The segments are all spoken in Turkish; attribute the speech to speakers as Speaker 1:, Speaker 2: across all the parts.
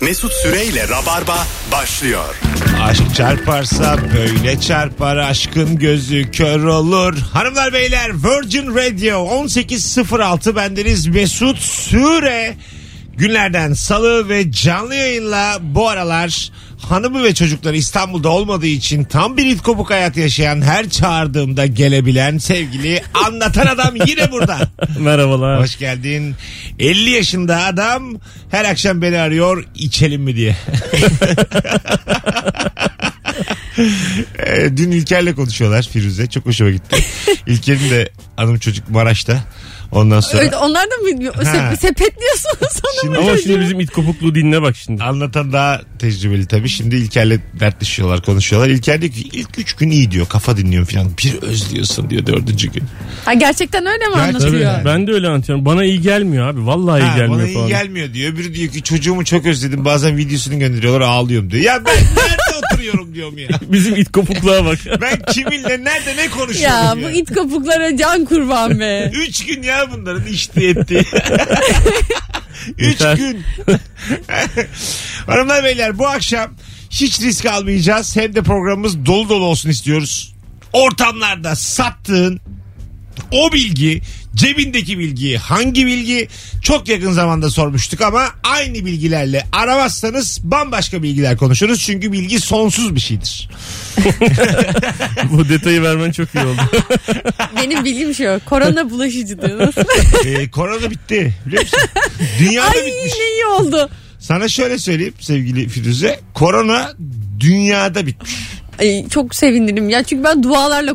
Speaker 1: Mesut Süreyle Rabarba başlıyor.
Speaker 2: Aşk çarparsa böyle çarpar aşkın gözü kör olur. Hanımlar beyler Virgin Radio 18.06 bendeniz Mesut Süre. Günlerden salı ve canlı yayınla bu aralar hanımı ve çocukları İstanbul'da olmadığı için tam bir it kopuk hayat yaşayan her çağırdığımda gelebilen sevgili anlatan adam yine burada.
Speaker 3: Merhabalar.
Speaker 2: Hoş geldin. 50 yaşında adam her akşam beni arıyor içelim mi diye. Ee, Dün İlker'le konuşuyorlar Firuze. Çok hoşuma gitti. İlker'in de hanım çocuk Maraş'ta. Ondan sonra
Speaker 4: Öyle, onlar da mı
Speaker 2: Ha.
Speaker 4: se- sepetliyorsunuz
Speaker 2: Şimdi-
Speaker 4: hanımı
Speaker 3: Ama
Speaker 4: çocuğu?
Speaker 3: şimdi bizim it kopukluğu dinle bak şimdi.
Speaker 2: anlatan daha tecrübeli tabii. Şimdi İlker'le dertleşiyorlar, konuşuyorlar. İlker diyor ki ilk üç gün iyi diyor. Kafa dinliyorum falan. Bir özlüyorsun diyor dördüncü gün.
Speaker 4: Ha, gerçekten öyle mi
Speaker 2: Gerçekten
Speaker 4: anlatıyor?
Speaker 2: öyle.
Speaker 3: Ben de öyle anlatıyorum. Bana iyi gelmiyor abi. Vallahi iyi
Speaker 2: Ha, bana
Speaker 3: gelmiyor
Speaker 2: iyi
Speaker 3: falan.
Speaker 2: gelmiyor diyor. Öbürü diyor ki çocuğumu çok özledim. Bazen videosunu gönderiyorlar ağlıyorum diyor. Ya ben nerede oturuyorum diyorum ya.
Speaker 3: Bizim it kopukluğa bak.
Speaker 2: Ben kiminle nerede ne konuşuyorum ya.
Speaker 4: Ya bu it kapuklara can kurban be.
Speaker 2: Üç gün ya bunların içti etti. Üç
Speaker 3: Yeter.
Speaker 2: gün. Hanımlar beyler bu akşam hiç risk almayacağız. Hem de programımız dolu dolu olsun istiyoruz. Ortamlarda sattığın o bilgi cebindeki bilgi hangi bilgi çok yakın zamanda sormuştuk ama aynı bilgilerle aramazsanız bambaşka bilgiler konuşuruz çünkü bilgi sonsuz bir şeydir.
Speaker 3: Bu detayı vermen çok iyi oldu.
Speaker 4: Benim bilgim şu. Korona bulaşıcıdır. Nasıl?
Speaker 2: Ee, korona bitti biliyor musun? Dünyada
Speaker 4: Ay
Speaker 2: bitmiş.
Speaker 4: ne iyi oldu.
Speaker 2: Sana şöyle söyleyeyim sevgili Firuze. Korona dünyada bitmiş.
Speaker 4: Ay, çok sevindim ya. Çünkü ben dualarla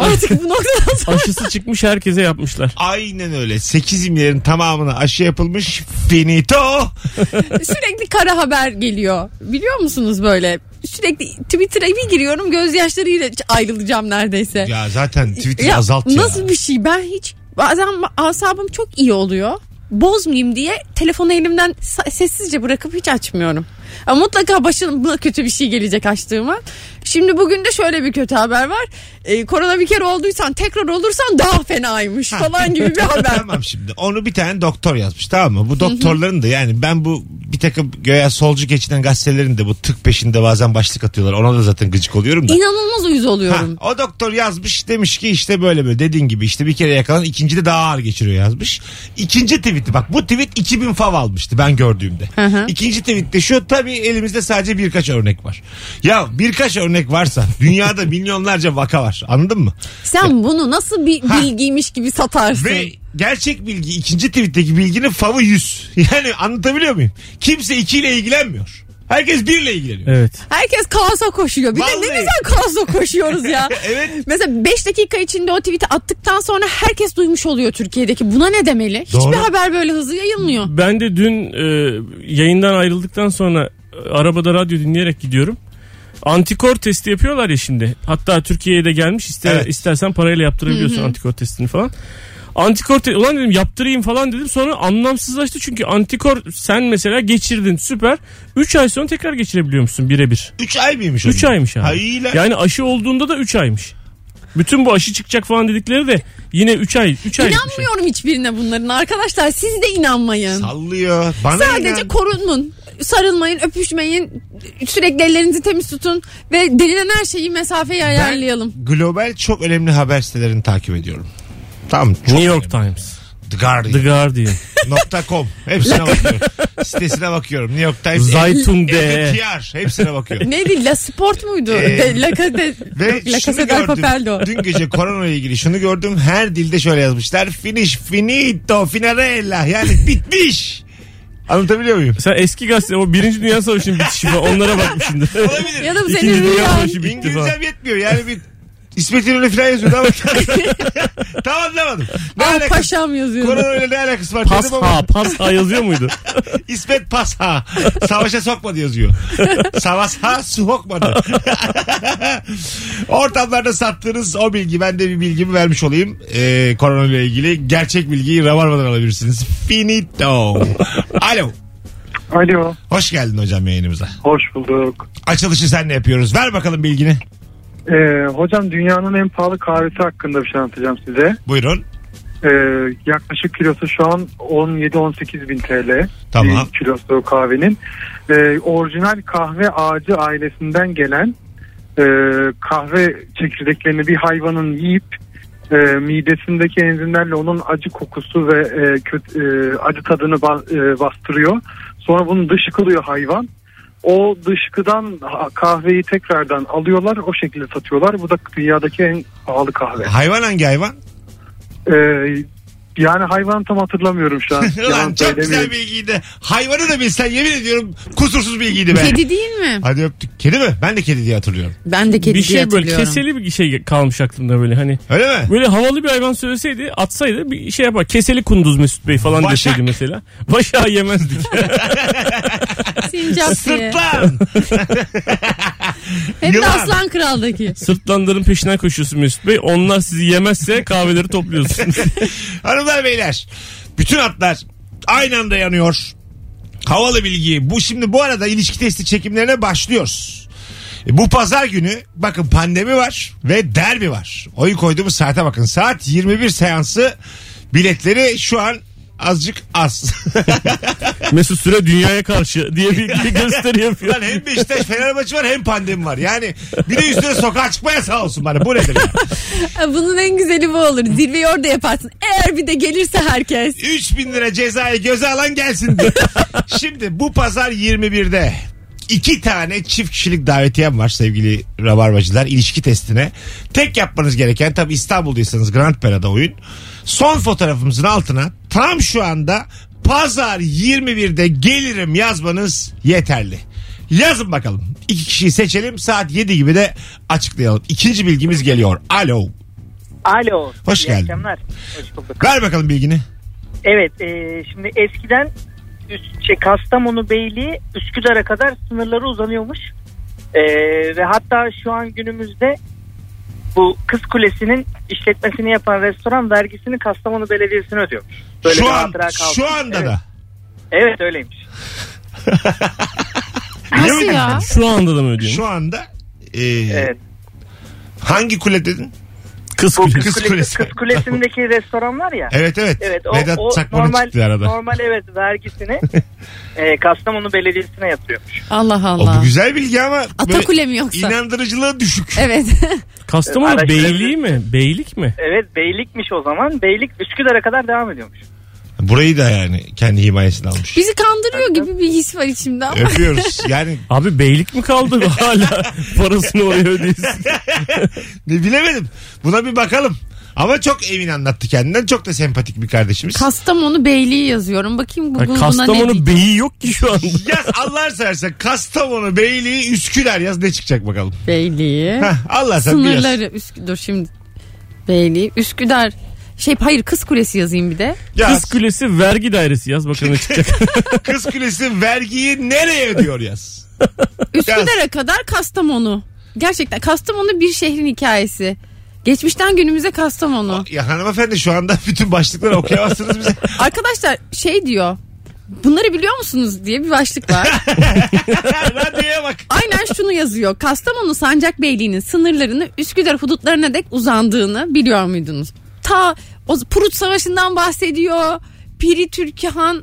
Speaker 4: artık bu noktadan sonra.
Speaker 3: Aşısı çıkmış herkese yapmışlar.
Speaker 2: Aynen öyle. 8 imlerin tamamına aşı yapılmış. Finito.
Speaker 4: Sürekli kara haber geliyor. Biliyor musunuz böyle? Sürekli Twitter'a bir giriyorum gözyaşlarıyla ayrılacağım neredeyse.
Speaker 2: Ya zaten Twitter
Speaker 4: Ya,
Speaker 2: azalt ya.
Speaker 4: Nasıl bir şey ben hiç bazen asabım çok iyi oluyor. Bozmayayım diye telefonu elimden sa- sessizce bırakıp hiç açmıyorum. Ama mutlaka başıma kötü bir şey gelecek açtığıma. Şimdi bugün de şöyle bir kötü haber var. Ee, korona bir kere olduysan tekrar olursan daha fenaymış falan gibi bir haber.
Speaker 2: Tamam şimdi onu bir tane doktor yazmış tamam mı? Bu doktorların da yani ben bu bir takım göya solcu geçinen gazetelerin de bu tık peşinde bazen başlık atıyorlar. Ona da zaten gıcık oluyorum da.
Speaker 4: İnanılmaz uyuz
Speaker 2: Ha,
Speaker 4: oluyorum.
Speaker 2: o doktor yazmış demiş ki işte böyle böyle dediğin gibi işte bir kere yakalan ikinci de daha ağır geçiriyor yazmış. İkinci tweet'i bak bu tweet 2000 fav almıştı ben gördüğümde.
Speaker 4: Hı hı.
Speaker 2: İkinci tweet'te şu tabii elimizde sadece birkaç örnek var. Ya birkaç örnek varsa dünyada milyonlarca vaka var anladın mı?
Speaker 4: Sen bunu nasıl bir
Speaker 2: Ha.
Speaker 4: bilgiymiş gibi satarsın?
Speaker 2: Ve gerçek bilgi ikinci tweet'teki bilginin favı 100. Yani anlatabiliyor muyum? Kimse 2 ile ilgilenmiyor. Herkes 1 ile ilgileniyor.
Speaker 3: Evet.
Speaker 4: Herkes kaosa koşuyor. Bir de
Speaker 2: Vallahi.
Speaker 4: ne güzel kaosa koşuyoruz ya.
Speaker 2: Evet.
Speaker 4: Mesela 5 dakika içinde o tweet'i attıktan sonra herkes duymuş oluyor Türkiye'deki. Buna ne demeli? Hiçbir
Speaker 2: Doğru.
Speaker 4: haber böyle hızlı yayılmıyor.
Speaker 3: Ben de dün e, yayından ayrıldıktan sonra e, arabada radyo dinleyerek gidiyorum. Antikor testi yapıyorlar ya şimdi. Hatta Türkiye'ye de gelmiş. İster,
Speaker 2: Evet.
Speaker 3: istersen parayla yaptırabiliyorsun antikor testini falan. Antikor te- ulan dedim yaptırayım falan dedim. Sonra anlamsızlaştı çünkü antikor sen mesela geçirdin süper. 3 ay sonra tekrar geçirebiliyor musun birebir?
Speaker 2: 3 ay mıymış?
Speaker 3: 3
Speaker 2: onun?
Speaker 3: aymış abi.
Speaker 2: Ha, iyi lan.
Speaker 3: Yani aşı olduğunda da 3 aymış. Bütün bu aşı çıkacak falan dedikleri de yine 3 ay 3 ay.
Speaker 2: şey.
Speaker 4: İnanmıyorum hiçbirine bunların arkadaşlar. Siz de inanmayın.
Speaker 2: Sallıyor. Bana
Speaker 4: Sadece
Speaker 2: inan.
Speaker 4: korunun. Sarılmayın, öpüşmeyin. Sürekli ellerinizi temiz tutun ve denilen her şeyi mesafeye ayarlayalım.
Speaker 2: Ben global çok önemli haber sitelerini takip ediyorum. Tamam. Çok
Speaker 3: New York Times,
Speaker 2: The Guardian.
Speaker 3: The Guardian,
Speaker 2: Nokta.com. Hepsine bakıyorum. Sitesine bakıyorum. New York Times.
Speaker 3: Zaytunde.
Speaker 2: FTR. Hepsine bakıyorum.
Speaker 4: Neydi? La Sport muydu?
Speaker 2: Ee,
Speaker 4: De, la Cade-
Speaker 2: Ve
Speaker 4: La
Speaker 2: şunu
Speaker 4: Casa del Papel de o.
Speaker 2: gördüm. Dün gece korona ile ilgili şunu gördüm. Her dilde şöyle yazmışlar. Finish, finito, finarella. Yani bitmiş. Anlatabiliyor muyum?
Speaker 3: Sen eski gazete o Birinci Dünya Savaşı'nın bitişi falan onlara bakmışsındır.
Speaker 2: Olabilir.
Speaker 4: Ya da bu
Speaker 3: İkinci
Speaker 4: senin
Speaker 3: Dünya
Speaker 4: rüyan.
Speaker 3: Savaşı bitti falan.
Speaker 2: İngilizcem yetmiyor. Yani bir İsmet İnönü falan yazıyordu ama tam anlamadım. Ne
Speaker 4: Al
Speaker 2: alakası?
Speaker 4: paşam yazıyordu.
Speaker 2: Korona ile ne alakası var
Speaker 3: Pas
Speaker 2: dedim ama
Speaker 3: ha pas ha yazıyor muydu?
Speaker 2: İsmet pas ha. Savaşa sokmadı yazıyor. Savaş ha sokmadı. Ortamlarda sattığınız o bilgi ben de bir bilgimi vermiş olayım. Ee, korona ile ilgili gerçek bilgiyi Ravarva'dan alabilirsiniz. Finito. Alo.
Speaker 5: Alo.
Speaker 2: Hoş geldin hocam yayınımıza.
Speaker 5: Hoş bulduk.
Speaker 2: Açılışı senle yapıyoruz. Ver bakalım bilgini.
Speaker 5: Ee, hocam dünyanın en pahalı kahvesi hakkında bir şey anlatacağım size.
Speaker 2: Buyurun.
Speaker 5: Ee, yaklaşık kilosu şu an 17-18 bin TL.
Speaker 2: Tamam.
Speaker 5: Bir kilosu kahvenin. Ee, orijinal kahve ağacı ailesinden gelen e, kahve çekirdeklerini bir hayvanın yiyip e, midesindeki enzimlerle onun acı kokusu ve e, kötü, e, acı tadını ba- e, bastırıyor. Sonra bunu dışkılıyor hayvan. O dışkıdan ha- kahveyi tekrardan alıyorlar, o şekilde satıyorlar. Bu da dünyadaki en pahalı kahve.
Speaker 2: Hayvan hangi hayvan?
Speaker 5: Ee, yani hayvan tam hatırlamıyorum şu an.
Speaker 2: Ulan
Speaker 5: Yalan
Speaker 2: çok
Speaker 5: söylemiyorum.
Speaker 2: güzel bilgiydi. Hayvanı da bilsen yemin ediyorum kusursuz bilgiydi be.
Speaker 4: Kedi değil mi?
Speaker 2: Hadi öptük. Kedi mi? Ben de kedi diye hatırlıyorum.
Speaker 4: Ben de
Speaker 3: bir
Speaker 4: kedi diye
Speaker 3: şey böyle
Speaker 4: hatırlıyorum.
Speaker 3: keseli bir şey kalmış aklımda böyle hani.
Speaker 2: Öyle mi?
Speaker 3: Böyle havalı bir hayvan söyleseydi atsaydı bir şey yapar. Keseli kunduz Mesut Bey falan
Speaker 2: Başak.
Speaker 3: deseydi mesela. Başağı yemezdik.
Speaker 4: Sincap diye.
Speaker 2: Sırtlan.
Speaker 4: Hem de
Speaker 2: Yılan.
Speaker 4: Aslan Kral'daki.
Speaker 3: Sırtlanların peşinden koşuyorsun Mesut Bey. Onlar sizi yemezse kahveleri topluyorsunuz.
Speaker 2: Hanımlar beyler. Bütün atlar aynı anda yanıyor. Havalı bilgi. Bu şimdi bu arada ilişki testi çekimlerine başlıyoruz. E, Bu pazar günü bakın pandemi var ve derbi var. Oyun koyduğumuz saate bakın. Saat 21 seansı biletleri şu an azıcık az.
Speaker 3: Mesut Süre dünyaya karşı diye bir bir gösteri yapıyor.
Speaker 2: Lan hem Beşiktaş Fenerbahçe var hem pandemi var. Yani bir de üstüne sokağa çıkmaya sağ olsun bana. Bu nedir ya?
Speaker 4: Bunun en güzeli bu olur. Zirveyi orada yaparsın. Eğer bir de gelirse herkes.
Speaker 2: 3000 lira cezayı göze alan gelsin diye. Şimdi bu pazar 21'de iki tane çift kişilik davetiyem var sevgili rabarbacılar ilişki testine. Tek yapmanız gereken tabi İstanbul'daysanız Grand Pera'da oyun. Son fotoğrafımızın altına tam şu anda pazar 21'de gelirim yazmanız yeterli. Yazın bakalım. İki kişiyi seçelim. Saat 7 gibi de açıklayalım. İkinci bilgimiz geliyor. Alo.
Speaker 6: Alo.
Speaker 2: Hoş
Speaker 6: iyi
Speaker 2: geldin.
Speaker 6: akşamlar. Hoş bulduk.
Speaker 2: Ver bakalım bilgini.
Speaker 6: Evet e, şimdi eskiden üst, şey, Kastamonu Beyliği Üsküdar'a kadar sınırları uzanıyormuş. E, ve hatta şu an günümüzde bu Kız Kulesi'nin işletmesini yapan restoran vergisini Kastamonu Belediyesi'ne ödüyormuş.
Speaker 2: şu
Speaker 6: bir
Speaker 2: an,
Speaker 6: hatıra kaldı.
Speaker 2: şu anda
Speaker 6: evet,
Speaker 2: da.
Speaker 6: Evet öyleymiş.
Speaker 4: Nasıl ya?
Speaker 3: Şu anda da mı ödüyorsun?
Speaker 2: Şu anda e,
Speaker 6: Evet.
Speaker 2: hangi kule dedin?
Speaker 3: Kız
Speaker 6: Bu
Speaker 2: Kız
Speaker 6: Kız, Kulesi-
Speaker 2: Kulesi.
Speaker 6: Kız Kulesi'ndeki restoran var ya.
Speaker 2: Evet evet.
Speaker 6: Evet o,
Speaker 2: Vedat
Speaker 6: o
Speaker 2: Çakman'ın
Speaker 6: normal,
Speaker 2: çıktı arada.
Speaker 6: normal evet vergisini e, Kastamonu Belediyesi'ne yatırıyormuş.
Speaker 4: Allah
Speaker 2: O
Speaker 4: Allah.
Speaker 2: bu güzel bilgi ama böyle
Speaker 4: Atakule mi yoksa?
Speaker 2: inandırıcılığı düşük.
Speaker 4: Evet.
Speaker 3: Kastamonu
Speaker 6: Araştırabilir-
Speaker 3: beyliği mi? Beylik mi?
Speaker 6: Evet beylikmiş o zaman. Beylik Üsküdar'a kadar devam ediyormuş.
Speaker 2: Burayı da yani kendi himayesine almış.
Speaker 4: Bizi kandırıyor gibi bir his var içimde ama.
Speaker 2: Öpüyoruz. Yani
Speaker 3: Abi beylik mi kaldı hala parasını oraya ödüyorsun?
Speaker 2: ne bilemedim. Buna bir bakalım. Ama çok emin anlattı kendinden. Çok da sempatik bir kardeşimiz.
Speaker 4: Kastamonu Beyliği yazıyorum. Bakayım bu,
Speaker 3: Ya
Speaker 4: bu- buna ne
Speaker 3: Kastamonu
Speaker 4: diyecek?
Speaker 3: beyi yok ki şu anda.
Speaker 2: yaz Allah seversen Kastamonu, Beyliği, Üsküdar yaz ne çıkacak bakalım.
Speaker 4: Beyliği.
Speaker 2: Heh, Allah sen bir yaz.
Speaker 4: Sınırları Üsküdar. Dur şimdi. Beyliği. Üsküdar. Şey hayır Kız Kulesi yazayım bir de.
Speaker 2: Yaz.
Speaker 3: Kız Kulesi vergi dairesi yaz bakalım ne çıkacak.
Speaker 2: Kız Kulesi vergiyi nereye ödüyor yaz.
Speaker 4: Üsküdar'a kadar Kastamonu. Gerçekten Kastamonu bir şehrin hikayesi. Geçmişten günümüze Kastamonu.
Speaker 2: Ya hanımefendi şu anda bütün başlıkları okuyamazsınız bize.
Speaker 4: Arkadaşlar şey diyor. Bunları biliyor musunuz diye bir başlık var.
Speaker 2: Radyoya bak.
Speaker 4: Aynen şunu yazıyor. Kastamonu Sancakbeyliği'nin sınırlarını Üsküdar hudutlarına dek uzandığını biliyor muydunuz? Ta o Prut Savaşı'ndan bahsediyor. Piri Türkihan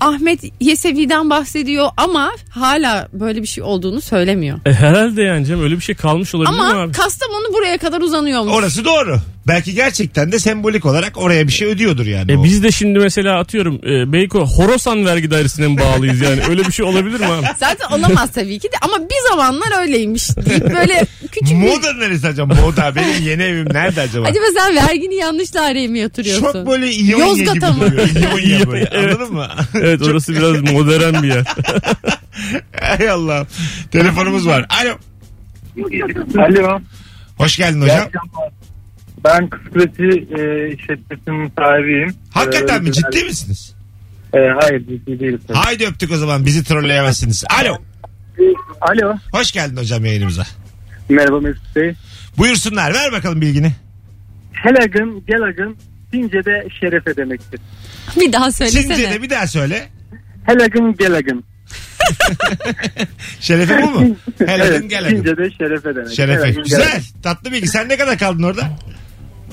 Speaker 4: Ahmet Yesevi'den bahsediyor ama hala böyle bir şey olduğunu söylemiyor.
Speaker 3: E, herhalde yani Cem öyle bir şey kalmış olabilir mi
Speaker 4: Ama
Speaker 3: abi?
Speaker 4: Kastamonu buraya kadar uzanıyormuş.
Speaker 2: Orası doğru. Belki gerçekten de sembolik olarak oraya bir şey ödüyordur yani.
Speaker 3: E
Speaker 2: o.
Speaker 3: biz de şimdi mesela atıyorum e, Beyko Horosan vergi dairesine mi bağlıyız yani? Öyle bir şey olabilir mi abi?
Speaker 4: Zaten olamaz tabii ki de ama bir zamanlar öyleymiş deyip böyle küçük bir...
Speaker 2: Moda neresi acaba? Moda benim yeni evim nerede acaba?
Speaker 4: Acaba sen vergini yanlış daireye mi yatırıyorsun?
Speaker 2: Çok böyle İonya gibi
Speaker 4: Yozgat'a mı?
Speaker 2: duruyor. İonya böyle.
Speaker 3: Evet.
Speaker 2: Anladın mı?
Speaker 3: Evet orası biraz modern bir yer.
Speaker 2: Hay Allah. Telefonumuz var. Alo.
Speaker 5: Alo.
Speaker 2: Hoş geldin
Speaker 5: iyi
Speaker 2: hocam.
Speaker 5: akşamlar. Ben Kız Kulesi e, işletmesinin sahibiyim.
Speaker 2: Hakikaten
Speaker 5: Ee,
Speaker 2: mi? Ciddi
Speaker 5: güzel-
Speaker 2: misiniz?
Speaker 5: E, hayır ciddi değilim.
Speaker 2: Haydi öptük o zaman. Bizi trolleyemezsiniz. Alo.
Speaker 5: Alo.
Speaker 2: Hoş geldin hocam yayınımıza.
Speaker 5: Merhaba Mesut Bey.
Speaker 2: Buyursunlar. Ver bakalım bilgini.
Speaker 5: Helagın, gelagın, Fince'de şerefe demektir.
Speaker 4: Bir daha söylesene.
Speaker 2: Çince'de bir daha söyle.
Speaker 5: Helagın, gelagın.
Speaker 2: Şerefe bu mu? Helal
Speaker 5: evet,
Speaker 2: gel.
Speaker 5: Fince'de şerefe demek.
Speaker 2: Şerefe.
Speaker 5: Helagın,
Speaker 2: Güzel.
Speaker 5: gelagın.
Speaker 2: Tatlı bilgi. Sen ne kadar kaldın orada?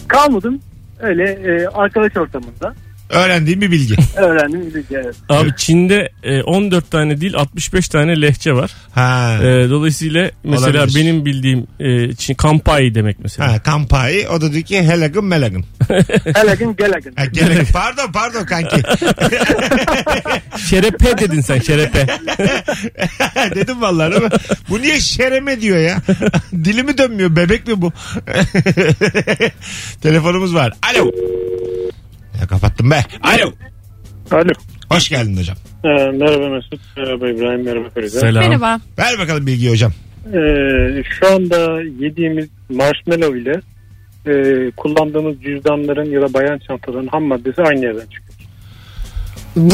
Speaker 5: Kalmadım. E, Öyle e, arkadaş ortamında
Speaker 2: Öğrendiğim bir bilgi.
Speaker 5: öğrendim. bir bilgi, evet.
Speaker 3: Abi Çin'de e, 14 tane değil 65 tane lehçe var.
Speaker 2: Ha.
Speaker 3: E, dolayısıyla mesela
Speaker 2: Olabilir.
Speaker 3: benim bildiğim e, Çin kampai demek mesela.
Speaker 2: Ha, kampayı o da diyor ki helagın melagın.
Speaker 5: Helagın gelagın.
Speaker 2: Ha, gene- pardon pardon kanki.
Speaker 3: Şerepe dedin sen şerepe.
Speaker 2: Dedim vallahi değil mi? Bu niye şereme diyor ya? Dilimi dönmüyor bebek mi bu? Telefonumuz var. Alo. Ya kapattım be. Alo.
Speaker 5: Alo.
Speaker 2: Hoş geldin hocam.
Speaker 5: Ee, merhaba Mesut, merhaba İbrahim, merhaba Feride.
Speaker 3: Selam.
Speaker 4: Merhaba.
Speaker 2: Ver bakalım bilgiyi hocam.
Speaker 5: Ee, şu anda yediğimiz marshmallow ile e, kullandığımız cüzdanların ya da bayan çantaların ham maddesi aynı yerden çıkıyor.
Speaker 4: Bu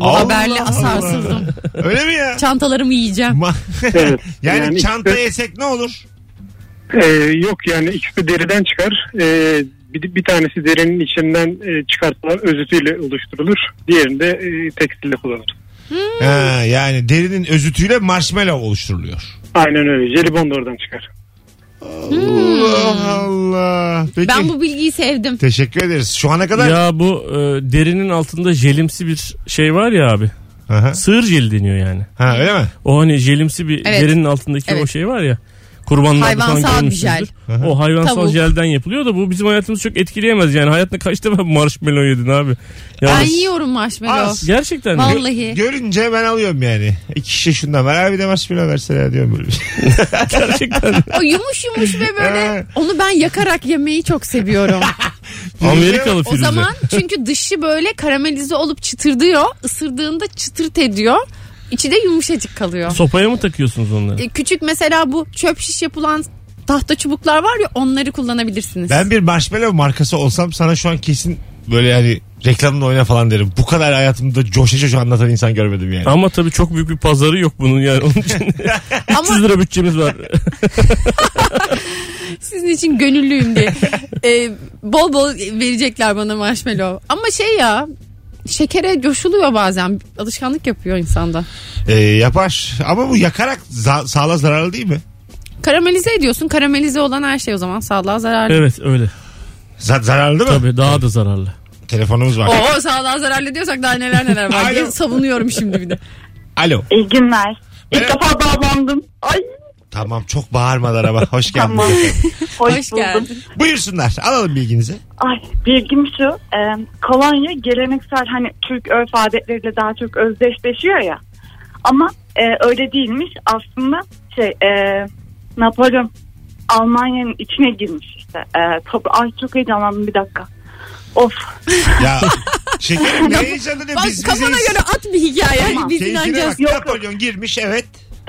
Speaker 2: Allah
Speaker 4: haberle
Speaker 2: Allah.
Speaker 4: asarsızdım.
Speaker 2: Öyle mi ya?
Speaker 4: Çantalarımı yiyeceğim.
Speaker 2: Ma-
Speaker 5: Evet.
Speaker 2: yani,
Speaker 5: Yani
Speaker 2: çanta
Speaker 5: işte-
Speaker 2: yesek ne olur?
Speaker 5: Ee, yok yani ikisi de deriden çıkar. Ee, bir, bir tanesi derinin içinden e, çıkartılan özütüyle oluşturulur. Diğerini de e, tekstille kullanılır.
Speaker 2: Ha, yani derinin özütüyle marshmallow oluşturuluyor.
Speaker 5: Aynen öyle. Jelibon da oradan çıkar.
Speaker 2: Allah Allah. Peki.
Speaker 4: Ben bu bilgiyi sevdim.
Speaker 2: Teşekkür ederiz. Şu ana kadar
Speaker 3: Ya bu e, derinin altında jelimsi bir şey var ya abi.
Speaker 2: Aha.
Speaker 3: Sığır jeli deniyor yani.
Speaker 2: Ha, öyle mi?
Speaker 3: O hani jelimsi bir
Speaker 4: Evet.
Speaker 3: derinin altındaki
Speaker 4: Evet.
Speaker 3: o şey var ya. Kurbanlarda
Speaker 4: Hayvansal
Speaker 3: falan
Speaker 4: bir jel.
Speaker 3: görmüşsünüzdür. O hayvansal
Speaker 4: Tavuk.
Speaker 3: jelden yapılıyor da bu bizim hayatımızı çok etkileyemez. Yani hayatında kaç defa marshmallow yedin abi?
Speaker 4: Ben
Speaker 3: Yani-
Speaker 4: yiyorum marshmallow.
Speaker 2: Az.
Speaker 3: Gerçekten.
Speaker 4: Vallahi.
Speaker 2: Görünce ben alıyorum yani. İki şişe şundan ver. Abi de marshmallow versene ya diyorum böyle bir şey.
Speaker 3: Gerçekten.
Speaker 4: O yumuş yumuş ve
Speaker 2: Evet.
Speaker 4: böyle onu ben yakarak yemeyi çok seviyorum.
Speaker 3: Amerikalı
Speaker 4: o
Speaker 3: Firuze.
Speaker 4: zaman çünkü dışı böyle karamelize olup çıtırdıyor. Isırdığında çıtırt ediyor. İçi de yumuşacık kalıyor.
Speaker 3: Sopaya mı takıyorsunuz onları?
Speaker 4: E, Küçük mesela bu çöp şiş yapılan tahta çubuklar var ya onları kullanabilirsiniz.
Speaker 2: Ben bir marshmallow markası olsam sana şu an kesin böyle yani reklamını oyna falan derim. Bu kadar hayatımda coşa coşa anlatan insan görmedim yani.
Speaker 3: Ama tabii çok büyük bir pazarı yok bunun yani. Onun için 300 lira bütçemiz var.
Speaker 4: sizin için gönüllüyüm diye. Ee, bol bol verecekler bana marshmallow. Ama şey ya şekere coşuluyor bazen. Alışkanlık yapıyor insanda.
Speaker 2: Ee, yapar. Ama bu yakarak za- sağlığa zararlı değil mi?
Speaker 4: Karamelize ediyorsun. Karamelize olan her şey o zaman sağlığa zararlı.
Speaker 3: evet öyle.
Speaker 2: Za- zararlı değil mi?
Speaker 3: Tabii daha da zararlı.
Speaker 2: Telefonumuz var.
Speaker 4: Oo sağlığa zararlı diyorsak daha neler neler var
Speaker 2: Alo.
Speaker 4: diye savunuyorum şimdi bir de.
Speaker 2: Alo.
Speaker 7: İyi günler. İlk
Speaker 2: Merhaba.
Speaker 7: defa bağlandım. Ay
Speaker 2: Tamam çok bağırmadan ama hoş geldiniz.
Speaker 7: Tamam.
Speaker 2: efendim.
Speaker 7: hoş,
Speaker 4: Hoş
Speaker 7: buldum.
Speaker 4: geldin.
Speaker 2: Buyursunlar. Alalım bilginizi.
Speaker 7: Ay bilgim şu. e, kolonya geleneksel hani Türk örf adetleriyle daha çok özdeşleşiyor ya. Ama e, öyle değilmiş. Aslında şey e, Napolyon Almanya'nın içine girmiş işte. E, top, ay çok heyecanlandım bir dakika. Of
Speaker 2: Ya şekerim ne heyecanı ne
Speaker 4: Bak
Speaker 2: biz
Speaker 4: kafana
Speaker 2: bizeyiz.
Speaker 4: göre at bir hikaye.
Speaker 7: Tamam.
Speaker 4: Biz
Speaker 2: Keyfine
Speaker 4: inanacağız.
Speaker 2: bak
Speaker 7: Yok, yok.
Speaker 2: Napolyon girmiş evet.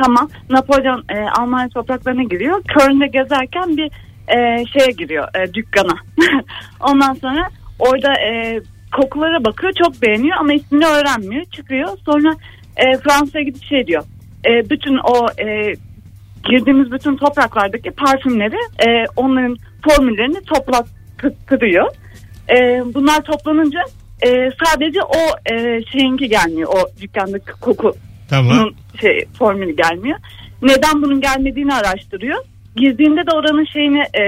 Speaker 7: tamam Napolyon e, Almanya topraklarına giriyor. Köln'de gezerken bir e, şeye giriyor e, dükkana. Ondan sonra orada e, kokulara bakıyor çok beğeniyor ama ismini öğrenmiyor. Çıkıyor sonra e, Fransa'ya gidip şey diyor. E, bütün o e, girdiğimiz bütün topraklardaki parfümleri e, onların formüllerini toplattırıyor. E, bunlar toplanınca e, sadece o e, şeyinki gelmiyor o dükkandaki koku
Speaker 2: Tamam.
Speaker 7: bunun şey, formülü gelmiyor. Neden bunun gelmediğini araştırıyor. Girdiğinde de oranın şeyine e,